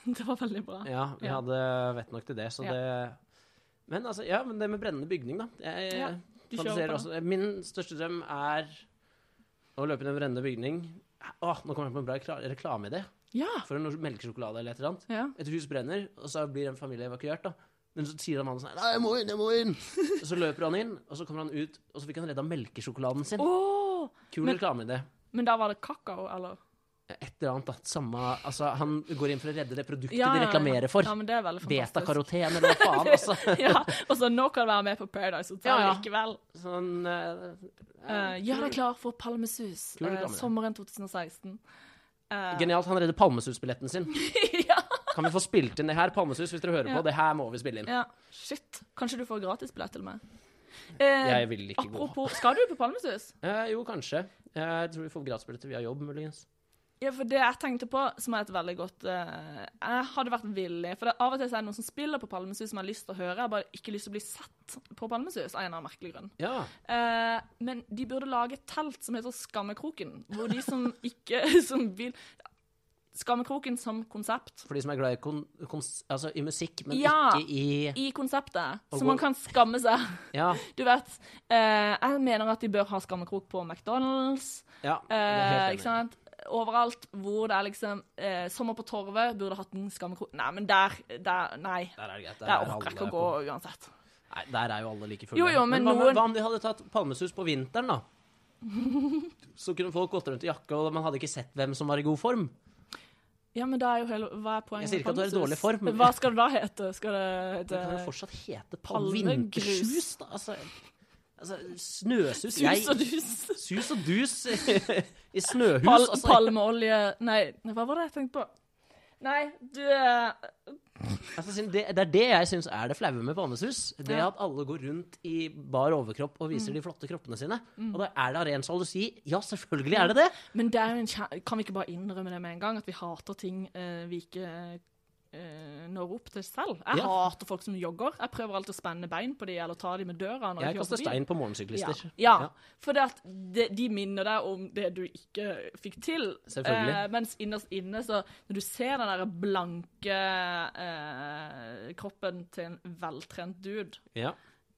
Speaker 1: Det var veldig bra.
Speaker 2: Ja, vi
Speaker 1: Ja.
Speaker 2: hadde vett nok til det, så
Speaker 1: Ja.
Speaker 2: det Men altså, ja, men det med brennende bygning, da. Jeg eh,
Speaker 1: Ja, du kjører
Speaker 2: fantaserer
Speaker 1: på
Speaker 2: også Min største drøm er å løpe inn i en brennende bygning. Åh, nå kommer jeg på en bra rekla- reklameidé.
Speaker 1: Ja.
Speaker 2: For en melkesjokolade eller et eller annet.
Speaker 1: ja.
Speaker 2: Et hus brenner, og så blir en familie evakuert, da. Men så sier han mannen sånn Nei, jeg må inn, jeg må inn! Og så løper han inn, og så kommer han ut, og så fikk han redda melkesjokoladen sin.
Speaker 1: Åh!
Speaker 2: Kul
Speaker 1: men-
Speaker 2: reklameidé.
Speaker 1: Men da var det kakao, eller?
Speaker 2: Et eller annet, da. Samme Altså, han går inn for å redde det produktet
Speaker 1: Ja, ja,
Speaker 2: de
Speaker 1: ja.
Speaker 2: reklamerer for.
Speaker 1: Ja, men det er veldig fantastisk.
Speaker 2: Beta-karoten, eller hva faen, altså.
Speaker 1: ja, og så nå kan du være med på Paradise Hotel
Speaker 2: Ja, ja.
Speaker 1: likevel.
Speaker 2: Sånn eh,
Speaker 1: Uh, Gjør deg klar for Palmesus,
Speaker 2: Kul
Speaker 1: eh,
Speaker 2: reklame.
Speaker 1: sommeren 2016. Eh,
Speaker 2: Genialt. Han redder Palmesus-billetten sin.
Speaker 1: ja,
Speaker 2: Kan vi få spilt inn det her? Palmesus, hvis dere hører
Speaker 1: Ja.
Speaker 2: på, det her må vi spille inn.
Speaker 1: ja, shit. Kanskje du får gratisbillett til meg.
Speaker 2: Jeg vil ikke gå.
Speaker 1: apropos, Skal du på Palmesus?
Speaker 2: Eh, jo, kanskje. Jeg tror vi får gratisbilletter via jobb, muligens.
Speaker 1: Ja, for det jeg tenkte på, som er et veldig godt eh, Jeg hadde vært villig. For det, av og til så er det noen som spiller på Palmesus som jeg har lyst til å høre. Jeg har bare ikke lyst til å bli sett på Palmesus av en eller annen merkelig grunn.
Speaker 2: Ja.
Speaker 1: Eh, men de burde lage et telt som heter Skammekroken, hvor de som ikke som vil Skammekroken som konsept
Speaker 2: For de som er glad i, kon kons altså, i musikk, men
Speaker 1: Ja.
Speaker 2: ikke i
Speaker 1: i konseptet, så
Speaker 2: gå-
Speaker 1: man kan skamme seg.
Speaker 2: Ja.
Speaker 1: Du vet, eh, jeg mener at de bør ha skammekrok på McDonald's,
Speaker 2: ja det er
Speaker 1: eh,
Speaker 2: helt
Speaker 1: ikke
Speaker 2: enig.
Speaker 1: sant? Overalt hvor det er liksom eh, Sommer på Torvet burde hatt en skammekrok Nei, men der, der Nei.
Speaker 2: Der er det greit.
Speaker 1: Der
Speaker 2: er
Speaker 1: orker jeg ikke
Speaker 2: alle
Speaker 1: å gå
Speaker 2: på-
Speaker 1: uansett.
Speaker 2: Nei, der er jo alle like fulle.
Speaker 1: Jo, jo, men
Speaker 2: hva,
Speaker 1: noen-
Speaker 2: med, hva om de hadde tatt palmesus på vinteren, da? Så kunne folk gått rundt i jakke, og man hadde ikke sett hvem som var i god form.
Speaker 1: Ja, men da er jo hele Hva er poenget?
Speaker 2: Jeg sier ikke
Speaker 1: med
Speaker 2: at du er i
Speaker 1: Palmesus?
Speaker 2: dårlig form, men-
Speaker 1: Hva skal det da hete? Skal det
Speaker 2: Det kan
Speaker 1: hete
Speaker 2: jo fortsatt hete
Speaker 1: Palmegrus.
Speaker 2: palmevintersus, da. Altså, altså snøsus jeg,
Speaker 1: Sus og dus?
Speaker 2: Sus og dus i, i snøhus.
Speaker 1: Pal
Speaker 2: altså.
Speaker 1: Palmeolje Nei, hva var det jeg tenkte på? Nei, du eh,
Speaker 2: Altså, siden det, det er det jeg syns er det flaue med palmesus. Det
Speaker 1: Ja. Mm.
Speaker 2: at alle går rundt i bar overkropp og viser de flotte kroppene sine. Og da er det av ren sjalusi. Ja, selvfølgelig er det det.
Speaker 1: Men det er jo en kjær... Kan vi ikke bare innrømme det med en gang, at vi hater ting eh, vi ikke eh, når opp til selv? Jeg
Speaker 2: Ja.
Speaker 1: hater folk som jogger. Jeg prøver alltid å spenne bein på de, eller ta de med døra når jeg,
Speaker 2: Jeg kaster
Speaker 1: kjører forbi.
Speaker 2: stein på morgensyklister.
Speaker 1: Ja, ja. for det at de, de minner deg om det du ikke fikk til. Eh,
Speaker 2: Selvfølgelig.
Speaker 1: mens innerst inne, så når du ser den der blanke eh, kroppen til en veltrent dude,
Speaker 2: Ja.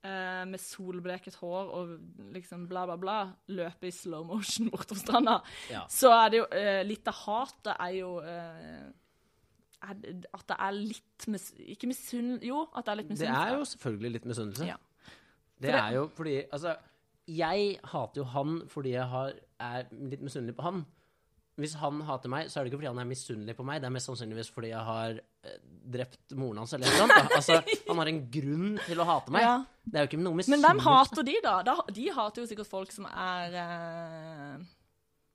Speaker 1: eh, med solbleket hår og liksom bla, bla, bla, løpe i slow motion bortover stranda,
Speaker 2: Ja.
Speaker 1: så er det jo eh, Litt av hatet er jo eh, er, det- At det er litt mis, Ikke misunnelse Jo, at det er litt
Speaker 2: Det er
Speaker 1: misunnelse.
Speaker 2: jo selvfølgelig litt misunnelse.
Speaker 1: Ja.
Speaker 2: Det er jo fordi Altså, jeg hater jo han fordi jeg har, er litt misunnelig på han. Hvis han hater meg, så er det ikke fordi han er misunnelig på meg, det er mest sannsynligvis fordi jeg har eh, drept moren hans eller noe sånt. da. Altså, han har en grunn til å hate meg.
Speaker 1: Ja.
Speaker 2: Det er jo ikke noe misunnelse.
Speaker 1: Men hvem hater de, da? da? De hater jo sikkert folk som er eh,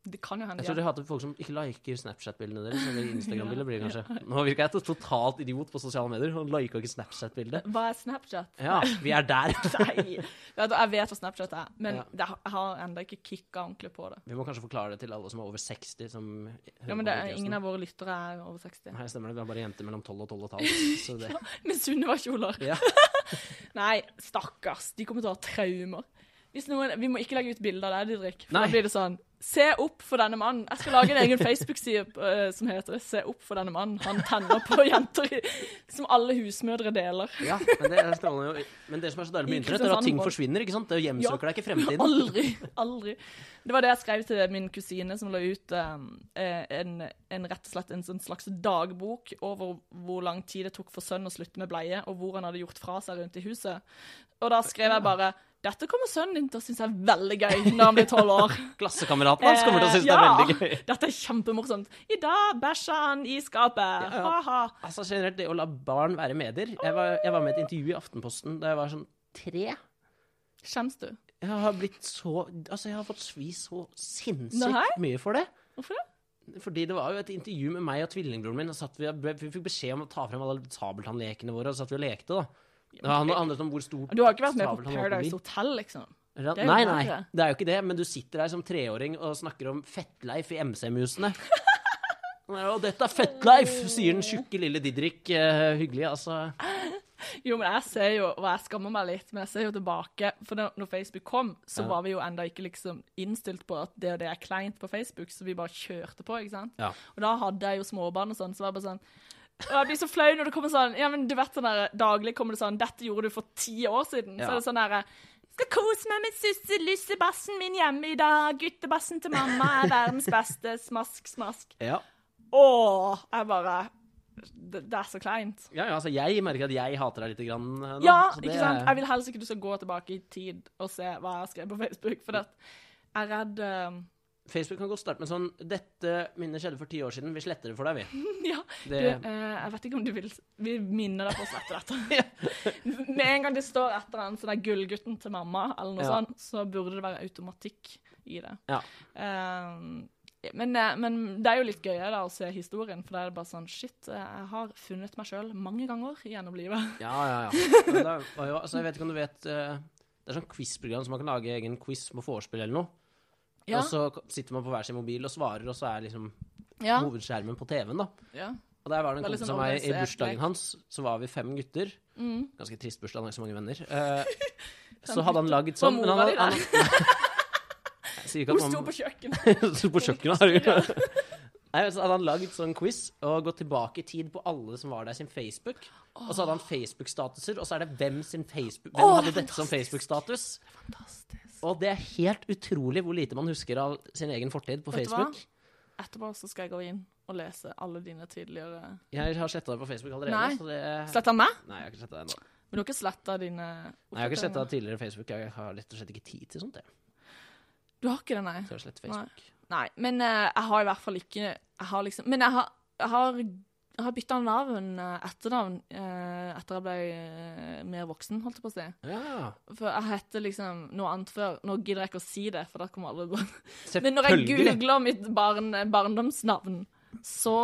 Speaker 1: Det kan jo hende
Speaker 2: Jeg
Speaker 1: de
Speaker 2: tror
Speaker 1: er
Speaker 2: de hater folk som ikke liker Snapchat-bildene deres. Eller Instagram-bilder blir det kanskje. Nå virka jeg til totalt idiot på sosiale medier. Han liker ikke Snapchat-bildet.
Speaker 1: Hva er Snapchat?
Speaker 2: Ja, vi er der.
Speaker 1: Nei. Vet du, Jeg vet hva Snapchat er, men
Speaker 2: Ja.
Speaker 1: det har- jeg har ennå ikke kicka ordentlig på det.
Speaker 2: Vi må kanskje forklare det til alle som er over 60 som hører
Speaker 1: Ja, men
Speaker 2: på
Speaker 1: det er,
Speaker 2: podcasten.
Speaker 1: Ingen av våre lyttere er over 60.
Speaker 2: Nei, stemmer det. Vi er bare jenter mellom 12 og 12 og et halvt. Så det
Speaker 1: Med Sunniva-kjoler.
Speaker 2: Ja.
Speaker 1: Nei, stakkars. De kommer til å ha traumer. Hvis noen, vi må ikke legge ut bilder av deg, Didrik. For
Speaker 2: Nei.
Speaker 1: da blir det sånn Se opp for denne mannen. Jeg skal lage en egen Facebook-side eh, som heter Se opp for denne mannen. Han tenner på jenter i, som alle husmødre deler.
Speaker 2: ja, men det er strålende. Men det som er så deilig med
Speaker 1: I
Speaker 2: internett, er at ting
Speaker 1: Kristiansand.
Speaker 2: forsvinner, ikke sant? Det
Speaker 1: sånn Ja.
Speaker 2: hjemsøker deg ikke i fremtiden.
Speaker 1: Aldri. Aldri. Det var det jeg skrev til min kusine, som la ut eh, en, en rett og slett en, sånn slags dagbok over hvor lang tid det tok for sønnen å slutte med bleie, og hvor han hadde gjort fra seg rundt i huset. Og da skrev jeg bare dette kommer sønnen din til å synes er veldig gøy når han blir tolv år.
Speaker 2: Klassekameraten hans kommer til å
Speaker 1: Eh,
Speaker 2: synes det er veldig gøy.
Speaker 1: Dette er kjempemorsomt. I dag bæsja han i skapet.
Speaker 2: Ja, ja.
Speaker 1: Ha-ha.
Speaker 2: Altså generelt, det å la barn være medier. Jeg var, jeg var med i et intervju i Aftenposten da jeg var sånn tre.
Speaker 1: Skjems du?
Speaker 2: Jeg har blitt så Altså, jeg har fått svi så
Speaker 1: Nei.
Speaker 2: sinnssykt mye for det.
Speaker 1: Hvorfor det?
Speaker 2: Fordi det var jo et intervju med meg og tvillingbroren min. Og satt vi, vi fikk beskjed om å ta frem alle sabeltannlekene våre, og satt vi og lekte, da. Det handlet handlet om hvor stort
Speaker 1: Du har ikke vært med på
Speaker 2: sabeltann var min.
Speaker 1: Paradise Hotel, liksom?
Speaker 2: Ra-
Speaker 1: Det er jo
Speaker 2: Nei, nei,
Speaker 1: verre.
Speaker 2: det er jo ikke det, men du sitter der som treåring og snakker om Fettleif i MC-musene. Nei, Og dette er Fettleif, sier den tjukke lille Didrik. eh, hyggelig, altså.
Speaker 1: Jo, men jeg ser jo, og jeg skammer meg litt, men jeg ser jo tilbake. For da når Facebook kom, så var vi jo enda ikke liksom innstilt på at det og det er kleint på Facebook, så vi bare kjørte på, ikke sant.
Speaker 2: Ja.
Speaker 1: Og da hadde jeg jo småbarn og sånn, så var jeg bare sånn og jeg blir så flau når det kommer sånn Ja, men du vet sånn der Daglig kommer det sånn 'Dette gjorde du for ti år siden.'
Speaker 2: Ja.
Speaker 1: Så er det sånn derre 'Skal kose meg med susselussebassen min hjemme i dag.' 'Guttebassen til mamma er verdens beste.' Smask, smask.
Speaker 2: Ja.
Speaker 1: Åh, jeg bare Det, det er så kleint.
Speaker 2: ja, ja, altså, jeg merker at jeg hater deg litt grann eh, nå.
Speaker 1: Ja,
Speaker 2: så det
Speaker 1: ikke sant?
Speaker 2: er-
Speaker 1: Jeg vil helst ikke du skal gå tilbake i tid og se hva jeg har skrevet på Facebook, for at jeg er redd eh,
Speaker 2: Facebook kan godt starte med sånn Dette minnet skjedde for ti år siden, vi sletter det for deg, vi.
Speaker 1: Ja, du,
Speaker 2: Det-
Speaker 1: eh, jeg vet ikke om du vil Vi minner deg på å slette dette. Med en gang det står et eller annet sånn der 'Gullgutten til mamma', eller noe
Speaker 2: Ja.
Speaker 1: sånt, så burde det være automatikk i det.
Speaker 2: Ja.
Speaker 1: Eh, men, eh, men det er jo litt gøyere da, å se historien, for da er det bare sånn Shit, eh, jeg har funnet meg sjøl mange ganger gjennom livet.
Speaker 2: Ja, ja, ja. Men da var jo, altså, jeg vet ikke om du vet eh, Det er sånn quiz-program som man kan lage egen quiz med vorspiel eller noe.
Speaker 1: Ja.
Speaker 2: Og så k- sitter man på hver sin mobil og svarer, og så er liksom
Speaker 1: Ja.
Speaker 2: hovedskjermen på TV-en, da.
Speaker 1: ja.
Speaker 2: Og der var det en
Speaker 1: Det er
Speaker 2: kompis
Speaker 1: liksom Mm.
Speaker 2: av meg i
Speaker 1: organisert lek.
Speaker 2: bursdagen hans. Så var vi fem gutter. Ganske trist bursdag, han har ikke så mange venner. Eh, så hadde han lagd sånn.
Speaker 1: Var
Speaker 2: men han
Speaker 1: mora di
Speaker 2: hadde-
Speaker 1: der?
Speaker 2: han- Jeg sier ikke at
Speaker 1: Hun sto
Speaker 2: mamma-
Speaker 1: på kjøkkenet.
Speaker 2: Sto på kjøkkenet. har du- Nei, så hadde han lagd sånn quiz og gått tilbake i tid på alle som var der sin Facebook. Og så hadde han Facebook-statuser, og så er det hvem sin Facebook Hvem
Speaker 1: Åh, det
Speaker 2: hadde
Speaker 1: er
Speaker 2: dette som Facebook-status? Og det er helt utrolig hvor lite man husker av sin egen fortid på
Speaker 1: Vet du hva?
Speaker 2: Facebook.
Speaker 1: Etterpå så skal jeg gå inn og lese alle dine tidligere
Speaker 2: Jeg har sletta det på Facebook allerede.
Speaker 1: Nei.
Speaker 2: Så det...
Speaker 1: Sletta meg?
Speaker 2: Nei, jeg har ikke sletta det ennå.
Speaker 1: Men du har ikke sletta dine
Speaker 2: Nei, jeg har ikke sletta
Speaker 1: oppdateringer?
Speaker 2: tidligere Facebook. Jeg har rett og slett ikke tid til sånt. Jeg.
Speaker 1: Du har ikke det, nei?
Speaker 2: Til å slette Facebook.
Speaker 1: Nei, men eh, jeg har i hvert fall ikke Jeg har liksom Men jeg har, jeg har, jeg har bytta navn, eh, etternavn, eh, etter jeg ble eh, mer voksen, holdt jeg på å si.
Speaker 2: Ja.
Speaker 1: For jeg hette liksom noe annet før. Nå gidder jeg ikke å si det, for da kommer alle bare
Speaker 2: Selvfølgelig.
Speaker 1: Men når jeg googler mitt barn, barndomsnavn, så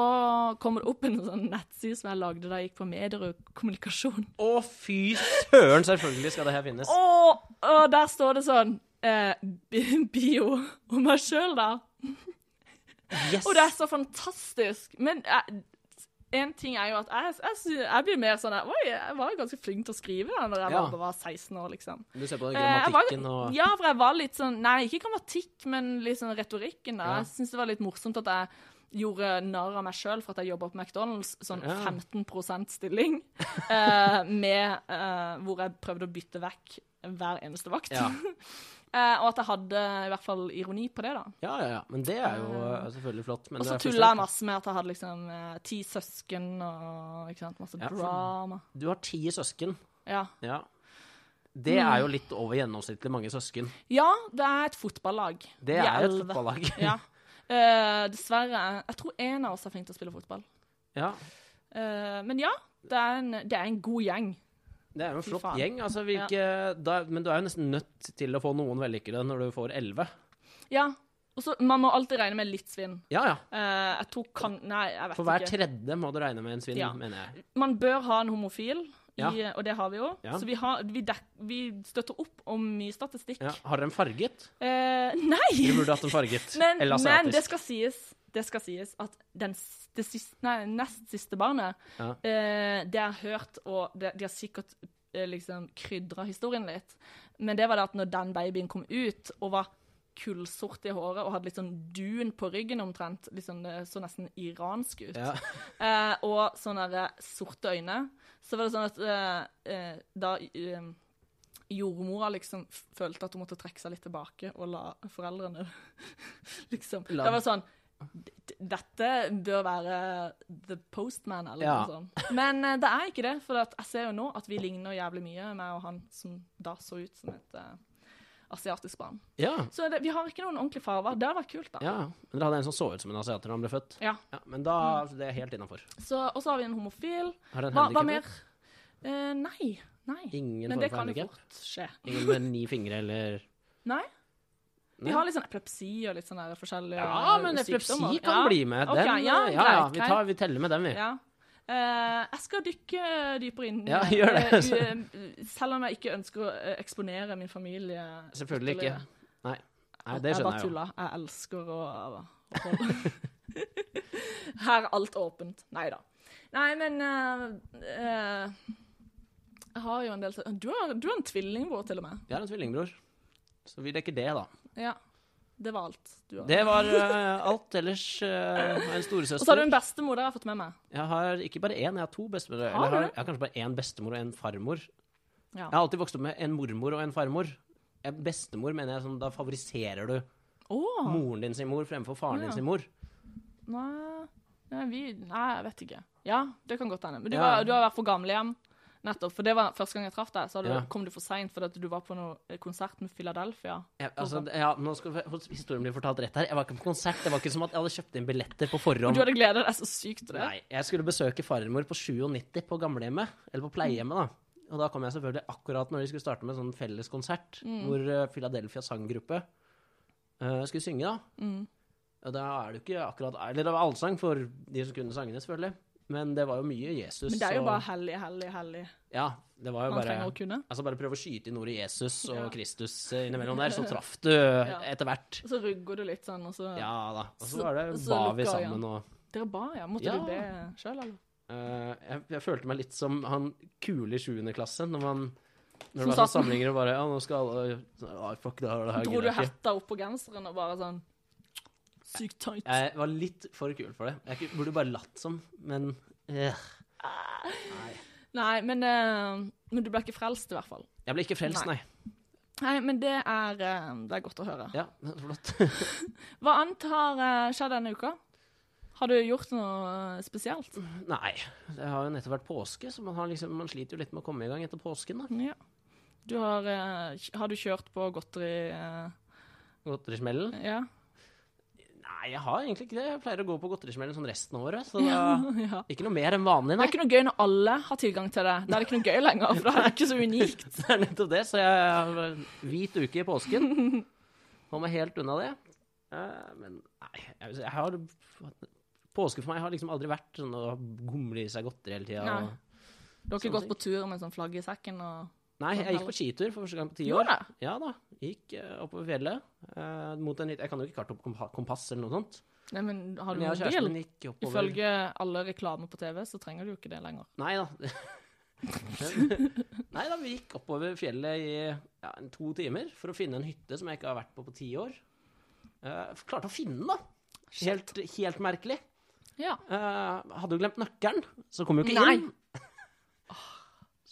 Speaker 1: kommer det opp en sånn nettside som jeg lagde da jeg gikk på medier og kommunikasjon.
Speaker 2: Å, fy søren! Selvfølgelig skal det her finnes.
Speaker 1: Og, og der står det sånn eh, bi- bio om meg sjøl, da.
Speaker 2: Yes!
Speaker 1: Og det er så fantastisk. Men jeg, en ting er jo at jeg, jeg, sy- jeg blir mer sånn Oi, jeg var jo ganske flink til å skrive da når jeg
Speaker 2: Ja.
Speaker 1: var, var 16 år, liksom.
Speaker 2: Du ser på den
Speaker 1: Eh, jeg
Speaker 2: grammatikken
Speaker 1: var,
Speaker 2: og
Speaker 1: Ja, for jeg var litt sånn Nei, ikke grammatikk, men litt sånn retorikken, da.
Speaker 2: Ja.
Speaker 1: Jeg syns det var litt morsomt at jeg gjorde narr av meg sjøl for at jeg jobba på McDonald's, sånn
Speaker 2: Ja.
Speaker 1: 15 stilling, eh, med eh, hvor jeg prøvde å bytte vekk hver eneste vakt.
Speaker 2: Ja.
Speaker 1: Eh, og at jeg hadde i hvert fall ironi på det, da.
Speaker 2: Ja, ja, ja. Men det er jo eh, selvfølgelig flott. men
Speaker 1: Og
Speaker 2: det
Speaker 1: så
Speaker 2: er
Speaker 1: tulla jeg
Speaker 2: fullstendig-
Speaker 1: masse med at jeg hadde liksom eh, ti søsken og ikke sant, masse
Speaker 2: Ja, for-
Speaker 1: drama.
Speaker 2: Du har ti søsken.
Speaker 1: Ja.
Speaker 2: Ja. Det
Speaker 1: Mm.
Speaker 2: er jo litt over gjennomsnittlig mange søsken.
Speaker 1: ja, det er et fotballag.
Speaker 2: Det
Speaker 1: Vi
Speaker 2: er jo et
Speaker 1: elleve.
Speaker 2: fotballag.
Speaker 1: ja. Eh, dessverre. Jeg tror én av oss er flink til å spille fotball.
Speaker 2: Ja.
Speaker 1: Eh, men ja, det er, en, det er en god gjeng.
Speaker 2: Det er jo en
Speaker 1: Fy
Speaker 2: flott
Speaker 1: faen.
Speaker 2: gjeng. Altså, hvilke, da, men du er jo nesten nødt til å få noen vellykkede når du får elleve.
Speaker 1: Ja. Og så Man må alltid regne med litt svinn.
Speaker 2: Ja, ja.
Speaker 1: Eh, jeg tror kan... Nei, jeg vet
Speaker 2: For hver
Speaker 1: ikke.
Speaker 2: tredje må du regne med en svinn,
Speaker 1: Ja.
Speaker 2: mener jeg.
Speaker 1: man bør ha en homofil, i,
Speaker 2: Ja.
Speaker 1: og det har vi jo.
Speaker 2: Ja.
Speaker 1: Så vi, har, vi, dek, vi støtter opp om mye statistikk.
Speaker 2: Ja. Har dere en farget?
Speaker 1: Eh,
Speaker 2: Du
Speaker 1: nei!
Speaker 2: burde hatt en farget.
Speaker 1: Men,
Speaker 2: Eller
Speaker 1: men det
Speaker 2: asiatisk.
Speaker 1: skal sies, det skal sies at den, s- det siste, nei, nest siste barnet,
Speaker 2: Ja.
Speaker 1: eh, det er hørt, og det, de har sikkert eh, liksom krydra historien litt, men det var det at når den babyen kom ut og var kullsort i håret og hadde litt sånn dun på ryggen omtrent, litt sånn, eh, så nesten iransk ut.
Speaker 2: Ja.
Speaker 1: Eh, og sånne der sorte øyne. Så var det sånn at eh, eh, da eh, jordmora liksom f- følte at hun måtte trekke seg litt tilbake og la foreldrene liksom
Speaker 2: La-
Speaker 1: Det var sånn d- d- dette bør være the postman, eller
Speaker 2: Ja.
Speaker 1: noe sånt. Men eh, det er ikke det, for at jeg ser jo nå at vi ligner jævlig mye, meg og han som da så ut som et eh, asiatisk barn.
Speaker 2: ja.
Speaker 1: Så det, vi har ikke noen ordentlige farger. Det hadde vært kult, da.
Speaker 2: ja. Men dere hadde en som så ut som en asiater da han ble født.
Speaker 1: Ja.
Speaker 2: Ja, men da det er helt innafor.
Speaker 1: Så, og så har vi en homofil.
Speaker 2: Har dere en
Speaker 1: Hva, hva
Speaker 2: handikapper?
Speaker 1: mer? Eh, nei. nei.
Speaker 2: Ingen
Speaker 1: Men
Speaker 2: form
Speaker 1: det
Speaker 2: for
Speaker 1: kan jo
Speaker 2: handicap?
Speaker 1: fort skje.
Speaker 2: Ingen med ni fingre eller
Speaker 1: Nei.
Speaker 2: Nei.
Speaker 1: Vi har litt sånn epilepsi og litt sånn der forskjellige
Speaker 2: Ja, men epilepsi
Speaker 1: sykdommer.
Speaker 2: kan
Speaker 1: Ja.
Speaker 2: bli med. Den, eh,
Speaker 1: Ok, ja,
Speaker 2: ja, ja,
Speaker 1: greit,
Speaker 2: vi,
Speaker 1: greit.
Speaker 2: tar, vi teller med den, vi.
Speaker 1: Ja. Eh, jeg skal dykke eh, dypere inn. i
Speaker 2: Ja, gjør det.
Speaker 1: eh, u- selv om jeg ikke ønsker å eh, eksponere min familie.
Speaker 2: Selvfølgelig ikke.
Speaker 1: ytterligere.
Speaker 2: Nei. Nei, det
Speaker 1: jeg
Speaker 2: skjønner jeg jo.
Speaker 1: bare tuller. Jeg elsker å å holde Her er alt åpent. Nei da. Nei, men eh, eh, Jeg har jo en del Du har, du har en tvillingbror, til og med.
Speaker 2: Vi har en tvillingbror. Så vi dekker det, da.
Speaker 1: Ja. Det var alt. Du har.
Speaker 2: Det var eh, alt ellers. eh, jeg har en
Speaker 1: Og så har
Speaker 2: storesøster.
Speaker 1: du en bestemor, det har jeg fått med meg.
Speaker 2: Jeg har ikke bare én, jeg har to bestemødre.
Speaker 1: Har
Speaker 2: Eller jeg
Speaker 1: du
Speaker 2: har,
Speaker 1: det?
Speaker 2: jeg har kanskje bare én bestemor og én farmor.
Speaker 1: Ja.
Speaker 2: Jeg har alltid vokst opp med en mormor og en farmor. Eh, Bestemor mener jeg sånn, da favoriserer du
Speaker 1: Åh,
Speaker 2: moren din sin mor fremfor faren
Speaker 1: Ja.
Speaker 2: din sin mor.
Speaker 1: nei, nei, vi, nei, jeg vet ikke. Ja, det kan godt hende. Men du,
Speaker 2: Ja.
Speaker 1: var, du har vært for gamlehjem. Nettopp, for det var Første gang jeg traff deg, så hadde du,
Speaker 2: Ja.
Speaker 1: kom du for seint fordi at du var på noe konsert med Philadelphia.
Speaker 2: Jeg, altså, ja, nå skal historien bli fortalt rett her. Jeg var ikke på konsert. Det var ikke som at jeg hadde kjøpt inn billetter på
Speaker 1: Og
Speaker 2: forhånd.
Speaker 1: du hadde gleda deg så sykt til det.
Speaker 2: Nei, jeg skulle besøke farmor på 97 på gamlehjemmet, eller på pleiehjemmet, da. Og da kom jeg selvfølgelig akkurat når de skulle starte med en sånn felleskonsert,
Speaker 1: Mm.
Speaker 2: hvor eh, Philadelphia sanggruppe eh, skulle synge, da.
Speaker 1: Mm.
Speaker 2: Og da er det jo ikke akkurat Eller det var allsang for de som kunne sangene, selvfølgelig. Men det var jo mye Jesus.
Speaker 1: Men det er jo
Speaker 2: og-
Speaker 1: bare hellig, hellig, hellig.
Speaker 2: Ja, det var jo
Speaker 1: Man
Speaker 2: bare
Speaker 1: trenger å kunne.
Speaker 2: Altså bare prøve å skyte inn ordet Jesus og
Speaker 1: Ja.
Speaker 2: Kristus eh, innimellom der, så traff du etter hvert.
Speaker 1: Og så rugger du litt sånn, og så
Speaker 2: Ja da. Og så
Speaker 1: Så-
Speaker 2: var det
Speaker 1: så
Speaker 2: ba vi
Speaker 1: lukka
Speaker 2: sammen
Speaker 1: øynene.
Speaker 2: og
Speaker 1: Dere ba, ja. Måtte
Speaker 2: Ja.
Speaker 1: du be sjøl, eller?
Speaker 2: Eh, jeg, jeg følte meg litt som han kule i 7. klasse, når man
Speaker 1: Som
Speaker 2: når det var sånne
Speaker 1: satt-
Speaker 2: samlinger og bare Ja, nå skal alle så, «Å, Fuck, det her, det her
Speaker 1: Dro
Speaker 2: gidder
Speaker 1: du
Speaker 2: jeg ikke.
Speaker 1: hetta opp på genseren og bare sånn Sykt tight.
Speaker 2: Jeg var litt for kul for det. Jeg ku- burde bare latt som, men eh.
Speaker 1: Nei, men, eh, men du ble ikke frelst, i hvert fall.
Speaker 2: Jeg ble ikke frelst, nei.
Speaker 1: Nei. Nei, men det er, eh, det er godt å høre.
Speaker 2: Ja, det er flott.
Speaker 1: Hva annet har eh, skjedd denne uka? Har du gjort noe eh, spesielt?
Speaker 2: nei. Det har jo nettopp vært påske, så man, har liksom, man sliter jo litt med å komme i gang etter påsken. da.
Speaker 1: Ja. Du har, eh, kj- har du kjørt på godteri eh,
Speaker 2: Godterismellen.
Speaker 1: Ja.
Speaker 2: Nei, jeg har egentlig ikke det. Jeg pleier å gå på godterismellen sånn resten av året, så da
Speaker 1: ja.
Speaker 2: Ikke noe mer enn vanlig,
Speaker 1: Det
Speaker 2: nei.
Speaker 1: er ikke noe gøy når alle har tilgang til det. Da er det ikke noe gøy lenger, for da er det ikke så unikt.
Speaker 2: Det er nettopp det, så jeg har hvit uke i påsken. Hold meg helt unna det. Eh, Men nei, jeg, vil si, jeg har Påske for meg har liksom aldri vært sånn å gomle i seg godteri hele tida.
Speaker 1: Nei. Du har ikke gått på tur med sånn flagg i sekken og
Speaker 2: Nei, jeg gikk på skitur for første gang på ti år.
Speaker 1: Gjorde det?
Speaker 2: Ja da. Gikk eh, oppover fjellet. eh, mot en, litt- jeg kan jo ikke kart opp kompa- kompass eller noe sånt.
Speaker 1: Nei, men har du
Speaker 2: Men jeg og
Speaker 1: mobil?
Speaker 2: kjæresten min gikk oppover
Speaker 1: Ifølge alle reklamer på TV, så trenger du jo ikke det lenger.
Speaker 2: Nei da. Nei da, vi gikk oppover fjellet i ja, en to timer for å finne en hytte som jeg ikke har vært på på ti år. Eh, klarte å finne den, da. Helt, helt merkelig.
Speaker 1: Ja.
Speaker 2: Eh, hadde jo glemt nøkkelen, så kom jo ikke
Speaker 1: Nei.
Speaker 2: inn.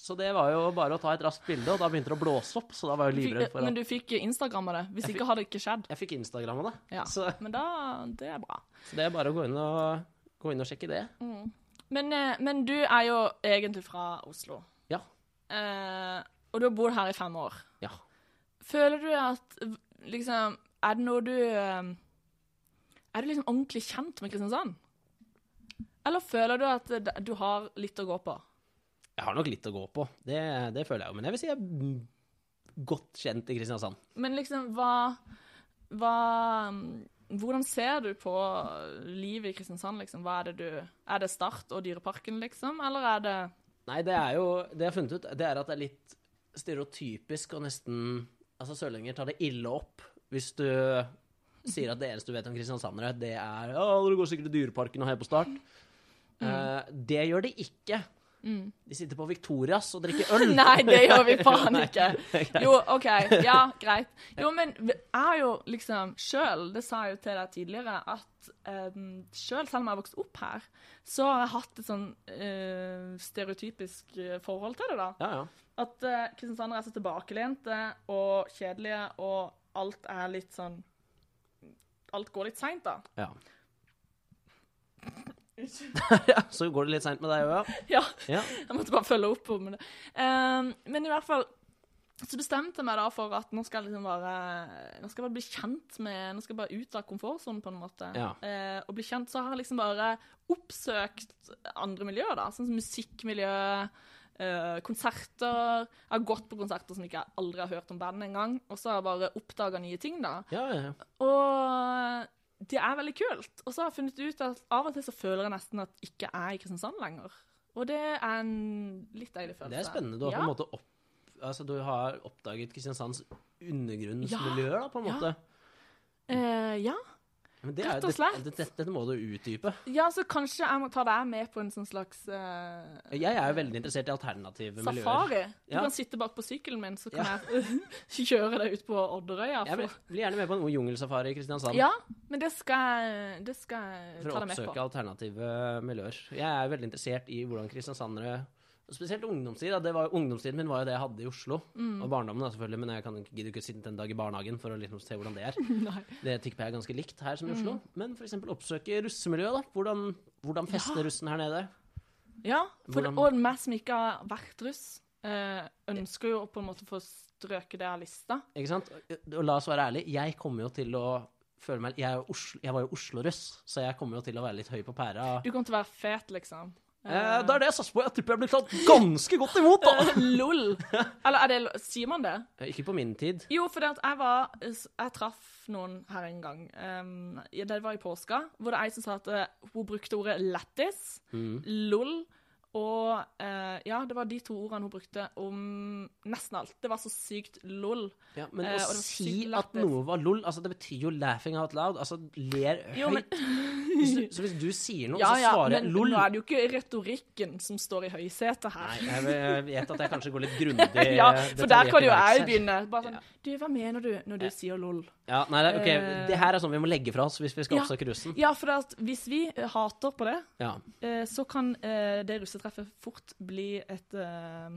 Speaker 2: Så det var jo bare å ta et raskt bilde, og da begynte det å blåse opp. Så da var jeg jo livredd
Speaker 1: Fikk,
Speaker 2: for
Speaker 1: men
Speaker 2: at
Speaker 1: du fikk Instagram av det. Hvis
Speaker 2: Jeg
Speaker 1: ikke hadde det ikke skjedd.
Speaker 2: Jeg fikk Instagram av det.
Speaker 1: Ja.
Speaker 2: Så,
Speaker 1: Men da Det er bra.
Speaker 2: så det er bare å gå inn og, gå inn og sjekke det.
Speaker 1: Mm. Men, eh, men du er jo egentlig fra Oslo.
Speaker 2: Ja.
Speaker 1: Eh, og du har bodd her i fem år.
Speaker 2: Ja.
Speaker 1: Føler du at eh, liksom Er det noe du eh, Er du liksom ordentlig kjent med Kristiansand? Eller føler du at eh, d- du har litt å gå på?
Speaker 2: Jeg har nok litt å gå på, det, det føler jeg jo. Men jeg vil si jeg er mm, godt kjent i Kristiansand.
Speaker 1: Men liksom, hva, hva mm, Hvordan ser du på livet i Kristiansand, liksom? Hva er det du Er det Start og Dyreparken, liksom? Eller er det
Speaker 2: Nei, det er jo Det jeg har funnet ut, det er at det er litt stereotypisk og nesten Altså, sørlendinger tar det ille opp hvis du sier at det eneste du vet om kristiansandere, det er 'Å, du går sikkert til Dyreparken og heier på Start'. Eh, det gjør de ikke. De sitter på Victorias og drikker øl.
Speaker 1: Nei, det gjør vi faen
Speaker 2: Nei,
Speaker 1: ikke. Jo, OK. Ja, greit. Jo, men jeg er jo liksom sjøl, det sa jeg jo til deg tidligere, at um, sjøl, selv om jeg har vokst opp her, så har jeg hatt et sånn eh, stereotypisk eh, forhold til det, da.
Speaker 2: Ja, ja.
Speaker 1: At uh, kristiansandere er så tilbakelente og kjedelige, og alt er litt sånn Alt går litt seint, da.
Speaker 2: ja. ja. Så går det litt seint med deg òg,
Speaker 1: Ja.
Speaker 2: ja. ja.
Speaker 1: Jeg måtte bare følge opp om det. Ehm, men i hvert fall så bestemte jeg meg da for at nå skal jeg liksom bare Nå skal jeg bare bli kjent med Nå skal jeg bare ut av komfortsonen, på en måte.
Speaker 2: Ja.
Speaker 1: Eh, og bli kjent. Så har jeg liksom bare oppsøkt andre miljøer, da. Sånn som musikkmiljø, eh, konserter Jeg har gått på konserter som ikke jeg aldri har hørt om bandet engang. Og så har jeg bare oppdaga nye ting, da.
Speaker 2: ja, ja.
Speaker 1: Og det er veldig kult. Og så har jeg funnet ut at av og til så føler jeg nesten at jeg ikke er i Kristiansand lenger. Og det er en litt deilig følelse.
Speaker 2: Det er spennende. Du har
Speaker 1: Altså, ja.
Speaker 2: på en måte opp, altså, du har oppdaget Kristiansands undergrunnsmiljø, da, på en
Speaker 1: Ja.
Speaker 2: måte.
Speaker 1: Eh, ja.
Speaker 2: Men det
Speaker 1: Rett
Speaker 2: er,
Speaker 1: og slett.
Speaker 2: Dette, dette, dette må du utdype.
Speaker 1: ja, så kanskje jeg må ta deg med på en sånn slags eh,
Speaker 2: Jeg er jo veldig interessert i alternative miljøer.
Speaker 1: safari. Du
Speaker 2: Ja.
Speaker 1: kan sitte bak på sykkelen min, så kan
Speaker 2: Ja.
Speaker 1: jeg kjøre deg ut på Odderøya.
Speaker 2: Jeg blir,
Speaker 1: For...
Speaker 2: blir gjerne med på en jungelsafari i Kristiansand
Speaker 1: Ja, men det skal jeg, det skal jeg
Speaker 2: for å
Speaker 1: ta deg med
Speaker 2: oppsøke
Speaker 1: på.
Speaker 2: alternative miljøer. Jeg er veldig interessert i hvordan kristiansandere og Spesielt ungdomstid. Da. Det var, ungdomstiden min var jo det jeg hadde i Oslo.
Speaker 1: Mm.
Speaker 2: Og barndommen, da, selvfølgelig, men jeg kan, ikke- gidder jo ikke sitte en dag i barnehagen for å liksom se hvordan det er.
Speaker 1: Nei. Mm.
Speaker 2: Det tipper jeg er ganske likt her som i Oslo. Men f.eks. oppsøke russemiljøet. da. Hvordan, hvordan fester russen her nede?
Speaker 1: Ja, for det, og
Speaker 2: Hvordan-
Speaker 1: meg som ikke har vært russ, eh, ønsker jo å på en måte få strøket det av lista.
Speaker 2: Ikke sant? Og la oss være ærlig, jeg kommer jo til å føle meg Jeg, er jo Oslo, jeg var jo Oslo-russ, så jeg kommer jo til å være litt høy på pæra.
Speaker 1: Du kommer til å være fet, liksom.
Speaker 2: Eh, det er det jeg satser på. Jeg tipper jeg blir tatt ganske godt imot, da!
Speaker 1: Lol. Eller er det lo- Sier man det?
Speaker 2: Eh, Ikke på min tid.
Speaker 1: Jo, for det at jeg var Jeg traff noen her en gang. Um, ja, det var i påska, hvor det er ei som sa at eh, hun brukte ordet lættis,
Speaker 2: Mm.
Speaker 1: lol, og eh, Ja, det var de to ordene hun brukte om nesten alt. Det var så sykt lol.
Speaker 2: Ja, men
Speaker 1: Eh, og det
Speaker 2: å
Speaker 1: var
Speaker 2: si
Speaker 1: sykt
Speaker 2: at
Speaker 1: lættis.
Speaker 2: noe var lol, altså det betyr jo 'laughing out loud'. Altså ler
Speaker 1: Jo, men-
Speaker 2: høyt. Hvis du, så hvis du sier noe,
Speaker 1: Ja,
Speaker 2: så
Speaker 1: ja,
Speaker 2: svarer jeg
Speaker 1: men
Speaker 2: 'lol'.
Speaker 1: nå er det jo ikke retorikken som står i høysetet her.
Speaker 2: Nei, jeg vet- jeg vet at jeg kanskje går litt grundig
Speaker 1: ja, for der kan
Speaker 2: detaljert
Speaker 1: jo
Speaker 2: verks
Speaker 1: jeg
Speaker 2: her.
Speaker 1: begynne. Bare sånn Du, hva mener du når du sier lol?
Speaker 2: Ja, nei, det, ok,
Speaker 1: Eh,
Speaker 2: det her er sånn vi må legge fra oss hvis vi skal
Speaker 1: Ja.
Speaker 2: oppsøke russen.
Speaker 1: Ja, for det at hvis vi eh, hater på det,
Speaker 2: Ja.
Speaker 1: eh, så kan eh, det russetreffet fort bli et, eh,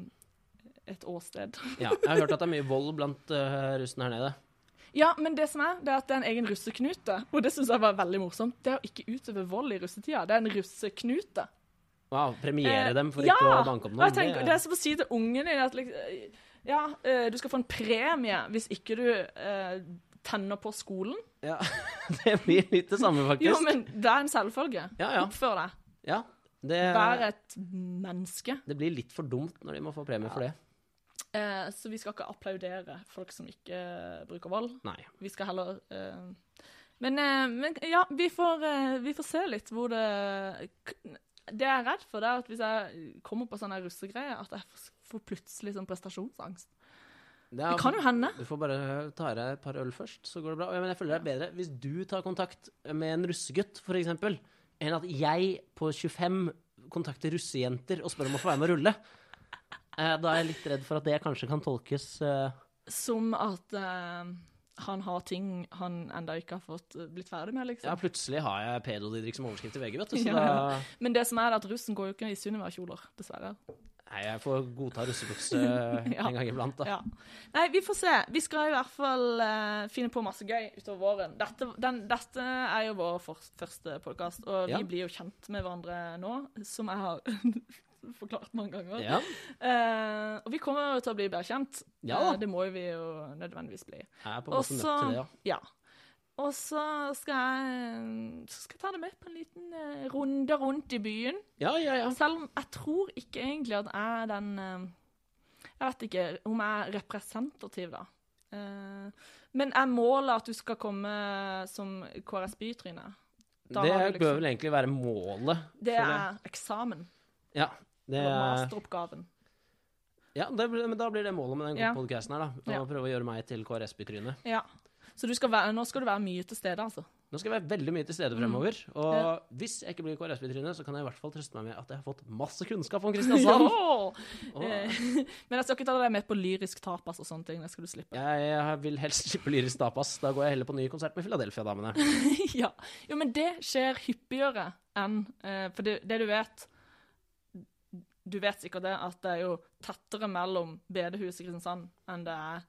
Speaker 1: et åsted.
Speaker 2: ja. Jeg har hørt at det er mye vold blant eh, russen her nede.
Speaker 1: Ja, men det som er, det er at det er en egen russeknute, og det syns jeg var veldig morsomt. Det er å ikke utøve vold i russetida, det er en russeknute.
Speaker 2: Wow, premiere
Speaker 1: Eh,
Speaker 2: dem for
Speaker 1: ja,
Speaker 2: ikke å banke
Speaker 1: og
Speaker 2: opp noen.
Speaker 1: jeg tenker, det er som å si til ungen din at liksom, ja, eh, du skal få en premie hvis ikke du eh, tenner på skolen.
Speaker 2: ja, det blir litt det samme, faktisk.
Speaker 1: Jo, men det er en selvfølge.
Speaker 2: Ja, Eh. ja.
Speaker 1: Oppfør deg.
Speaker 2: ja, det,
Speaker 1: Vær et menneske.
Speaker 2: det blir litt for dumt når de må få premie for det.
Speaker 1: Eh, så vi skal ikke applaudere folk som ikke eh, bruker vold.
Speaker 2: Nei.
Speaker 1: Vi skal heller eh, men, eh, men ja, vi får, eh, vi får se litt hvor det Det jeg er redd for, det er at hvis jeg kommer på sånne russegreier, at jeg får- får plutselig sånn prestasjonsangst.
Speaker 2: Det,
Speaker 1: Det kan jo hende.
Speaker 2: Du får bare ta deg et par øl først, så går det bra. Ja, Men jeg føler det er bedre hvis du tar kontakt med en russegutt, for eksempel, enn at jeg på 25 kontakter russejenter og spør om å få være med å rulle. Eh, Da er jeg litt redd for at det kanskje kan tolkes eh,
Speaker 1: Som at eh, han har ting han enda ikke har fått eh, blitt ferdig med, liksom.
Speaker 2: Ja, plutselig har jeg pedo-Didrik som overskrift i VG, vet du, så
Speaker 1: Ja,
Speaker 2: da
Speaker 1: ja. Men det som er, det er at russen går jo ikke i Sunniva-kjoler, dessverre.
Speaker 2: Nei, jeg får godta russebukse
Speaker 1: Ja.
Speaker 2: en gang iblant, da.
Speaker 1: Ja. Nei, vi får se. Vi skal i hvert fall eh, finne på masse gøy utover våren. Dette, den, dette er jo vår for, første podkast, og
Speaker 2: Ja.
Speaker 1: vi blir jo kjent med hverandre nå, som jeg har forklart mange ganger.
Speaker 2: Ja.
Speaker 1: Eh, og vi kommer jo til å bli bedre kjent.
Speaker 2: Ja.
Speaker 1: Eh, det må jo vi jo nødvendigvis bli.
Speaker 2: Jeg er på en
Speaker 1: Og
Speaker 2: måte nødt til
Speaker 1: så
Speaker 2: det, ja.
Speaker 1: ja. Og så skal jeg, så skal jeg ta det med på en liten eh, runde rundt i byen.
Speaker 2: Ja, ja, ja.
Speaker 1: Selv om jeg tror ikke egentlig at jeg er den eh, Jeg vet ikke om jeg er representativ, da. Eh, Men jeg måler at du skal komme som KrS Bytryne. Da
Speaker 2: Det
Speaker 1: har du liksom-
Speaker 2: bør vel egentlig være målet.
Speaker 1: Det
Speaker 2: føler jeg.
Speaker 1: er eksamen.
Speaker 2: Ja, det
Speaker 1: Eller
Speaker 2: er
Speaker 1: masteroppgaven.
Speaker 2: Ja, det blir, men da blir det målet med den
Speaker 1: Ja.
Speaker 2: podcasten her, da. Å
Speaker 1: Ja.
Speaker 2: prøve å gjøre meg til KrS-bytryne.
Speaker 1: Ja. Så du skal være, nå skal du være mye til stede, altså.
Speaker 2: Nå skal jeg være veldig mye til stede fremover. Og
Speaker 1: Mm. Ja.
Speaker 2: hvis jeg ikke blir KrS-bytryne, så kan jeg i hvert fall trøste meg med at jeg har fått masse kunnskap om
Speaker 1: Ja.
Speaker 2: Kristiansand.
Speaker 1: Sånn. Eh, Men jeg skal ikke ta deg med på lyrisk tapas og sånne ting. Det skal du slippe.
Speaker 2: Jeg vil helst slippe lyrisk tapas. Da går jeg heller på ny konsert med Philadelphia-damene.
Speaker 1: ja. Jo, men det skjer hyppigere enn eh, For det, det du vet Du vet sikkert det at det er jo tettere mellom bedehuset i Kristiansand enn det er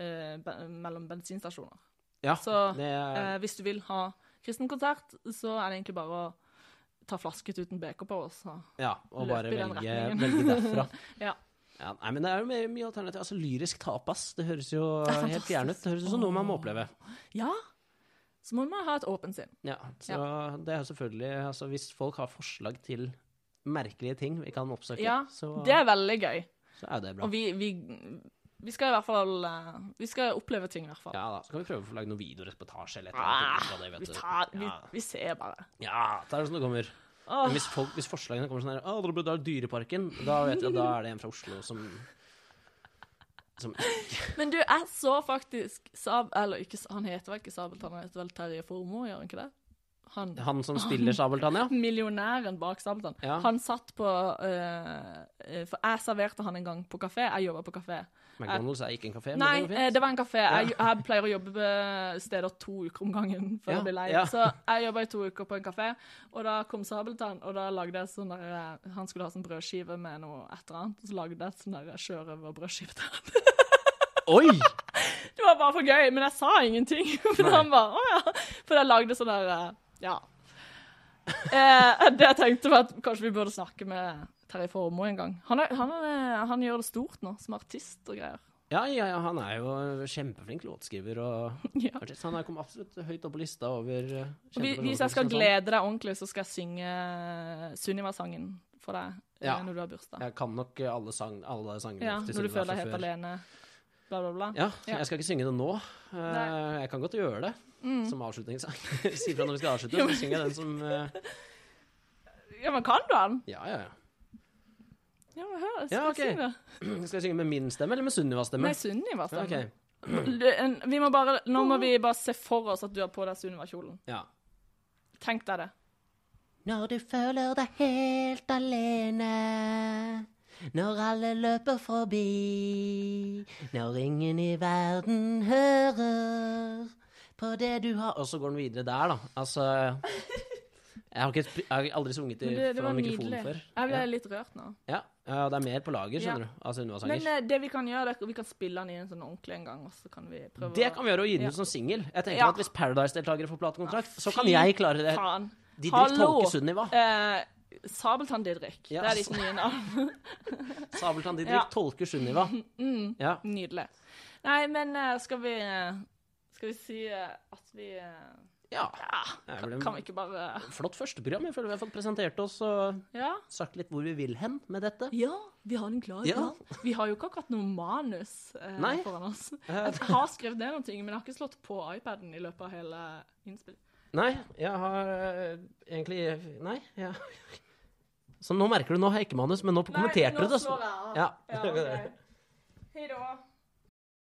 Speaker 1: eh, be mellom bensinstasjoner.
Speaker 2: Ja,
Speaker 1: Så,
Speaker 2: det
Speaker 1: Eh, hvis du vil ha kristenkonsert, så er det egentlig bare å ta flasket uten BK på oss. Så.
Speaker 2: Ja, og
Speaker 1: løp
Speaker 2: bare
Speaker 1: i den
Speaker 2: velge,
Speaker 1: retningen.
Speaker 2: velge derfra.
Speaker 1: Ja.
Speaker 2: Ja, nei, men det er jo mye, mye alternativ. Altså, lyrisk tapas, det høres jo helt fjern ut. Det høres ut som noe man må oppleve.
Speaker 1: ja. Så må man ha et åpent sinn.
Speaker 2: Ja, så det er jo selvfølgelig altså, Hvis folk har forslag til merkelige ting vi kan oppsøke,
Speaker 1: Ja,
Speaker 2: så,
Speaker 1: Det er veldig gøy.
Speaker 2: så er det bra.
Speaker 1: Og vi, vi, vi skal i hvert fall eh, Vi skal oppleve ting, i hvert fall.
Speaker 2: Ja da, så kan vi prøve å få lagd noen videoreportasje eller et
Speaker 1: Ah,
Speaker 2: eller annet. ut av det, vet
Speaker 1: vi,
Speaker 2: du.
Speaker 1: tar, vi,
Speaker 2: Ja.
Speaker 1: vi ser bare.
Speaker 2: Ja, ta det som det kommer.
Speaker 1: Åh.
Speaker 2: Men hvis, folk, hvis forslagene kommer sånn her Å, dere burde ha Dyreparken, da vet jeg at da er det en fra Oslo som som
Speaker 1: Men du, jeg så faktisk Sab... Eller ikke, han heter vel ikke Sabeltann, han heter vel Terje Formoe, gjør han ikke det? Han
Speaker 2: Han som spiller Sabeltann, ja.
Speaker 1: millionæren bak Sabeltann.
Speaker 2: Ja.
Speaker 1: Han satt på eh, eh, For jeg serverte han en gang på kafé. Jeg jobba på kafé.
Speaker 2: McDonald's er ikke en kafé, men
Speaker 1: Nei,
Speaker 2: det går
Speaker 1: eh,
Speaker 2: fint.
Speaker 1: det var en kafé. Jeg, jeg pleier å jobbe på steder to uker om gangen før
Speaker 2: Ja,
Speaker 1: jeg blir lei.
Speaker 2: ja.
Speaker 1: Så jeg jobba i to uker på en kafé, og da kom Sabeltann, og da lagde jeg sånn der eh, Han skulle ha sånn brødskive med noe et eller annet, og så lagde jeg sånn der sjørøverbrødskive til han.
Speaker 2: Oi!
Speaker 1: Det var bare for gøy, men jeg sa ingenting. For han bare, å ja. For jeg lagde sånn der eh, Ja. Eh, det jeg tenkte var at kanskje vi burde snakke med Terje Formoe en gang. Han, er, han, er, han gjør det stort nå, som artist og greier.
Speaker 2: Ja, ja, ja, han er jo kjempeflink låtskriver og
Speaker 1: Ja.
Speaker 2: artist. Han er kommet absolutt høyt opp på lista over eh,
Speaker 1: Og vi-
Speaker 2: kjente
Speaker 1: Hvis jeg skal
Speaker 2: låtskriver.
Speaker 1: glede deg ordentlig, så skal jeg synge eh, Sunniva-sangen for deg eh,
Speaker 2: Ja.
Speaker 1: når du har bursdag. Ja,
Speaker 2: Jeg kan nok eh, alle, sang, alle sangene til
Speaker 1: når du
Speaker 2: Sunniva
Speaker 1: føler deg
Speaker 2: fra
Speaker 1: helt
Speaker 2: før.
Speaker 1: alene. Bla, bla, bla.
Speaker 2: Ja,
Speaker 1: Ja.
Speaker 2: jeg skal ikke synge det nå. Eh,
Speaker 1: Nei. Mm.
Speaker 2: jeg kan godt gjøre det som avslutningssang. si fra når vi skal avslutte,
Speaker 1: Jo,
Speaker 2: så
Speaker 1: men-
Speaker 2: synger jeg den som eh,
Speaker 1: Ja, men kan du den?
Speaker 2: Ja, ja, ja.
Speaker 1: Ja, men hør, skal
Speaker 2: Ja,
Speaker 1: jeg
Speaker 2: ok.
Speaker 1: synge det?
Speaker 2: Skal jeg synge med min stemme eller med Sunnivas stemme?
Speaker 1: Nei, Sunniva.
Speaker 2: Ja,
Speaker 1: stemmer.
Speaker 2: ok.
Speaker 1: Det- en- Vi må bare, nå må vi bare se for oss at du har på deg Sunniva-kjolen.
Speaker 2: ja.
Speaker 1: Tenk deg det.
Speaker 2: Når du føler deg helt alene. Når alle løper forbi. Når ingen i verden hører på det du har Og så går den videre der, da. Altså Jeg har, ikke, sp- jeg har aldri sunget i,
Speaker 1: Men det, det var
Speaker 2: foran mikrofonen
Speaker 1: nydelig.
Speaker 2: før.
Speaker 1: Jeg ble
Speaker 2: Ja.
Speaker 1: litt rørt nå.
Speaker 2: Ja, ja, det er mer på lager, skjønner
Speaker 1: Ja.
Speaker 2: du, av Sunniva-sanger.
Speaker 1: Men eh, det vi kan gjøre, det er at vi kan spille den i en sånn ordentlig en gang, og så kan vi prøve
Speaker 2: Det kan vi gjøre og gi den
Speaker 1: Ja.
Speaker 2: ut som singel. Jeg tenker
Speaker 1: Ja.
Speaker 2: at Hvis Paradise-deltakere får platekontrakt, så kan
Speaker 1: Fy
Speaker 2: jeg klare det.
Speaker 1: Faen.
Speaker 2: Didrik
Speaker 1: Hallo.
Speaker 2: Tolke Sunniva.
Speaker 1: Eh, Sabeltann Didrik.
Speaker 2: Ja.
Speaker 1: Det er ditt nye navn.
Speaker 2: Sabeltann Didrik
Speaker 1: Ja. Mm.
Speaker 2: tolker Sunniva. Ja.
Speaker 1: Nydelig. Nei, men eh, skal vi eh, Skal vi si eh, at vi eh,
Speaker 2: ja. Det er
Speaker 1: kan,
Speaker 2: vel
Speaker 1: kan vi
Speaker 2: en
Speaker 1: ikke bare
Speaker 2: flott førsteprogram. Jeg føler vi har fått presentert oss og
Speaker 1: Ja?
Speaker 2: sagt litt hvor vi vil hen med dette.
Speaker 1: Ja, vi har en klar
Speaker 2: Ja.
Speaker 1: plan. Vi har jo ikke akkurat noe manus eh,
Speaker 2: Nei.
Speaker 1: foran oss.
Speaker 2: Eh,
Speaker 1: Jeg har skrevet ned noen ting, men jeg har ikke slått på iPaden i løpet av hele innspillet.
Speaker 2: Nei, jeg har eh, egentlig Nei. Ja. Så nå merker du, nå har jeg ikke manus, men nå kommenterte
Speaker 1: nå
Speaker 2: du det. så-
Speaker 1: slår jeg av.
Speaker 2: Ja.
Speaker 1: Ja, ok. Hei da.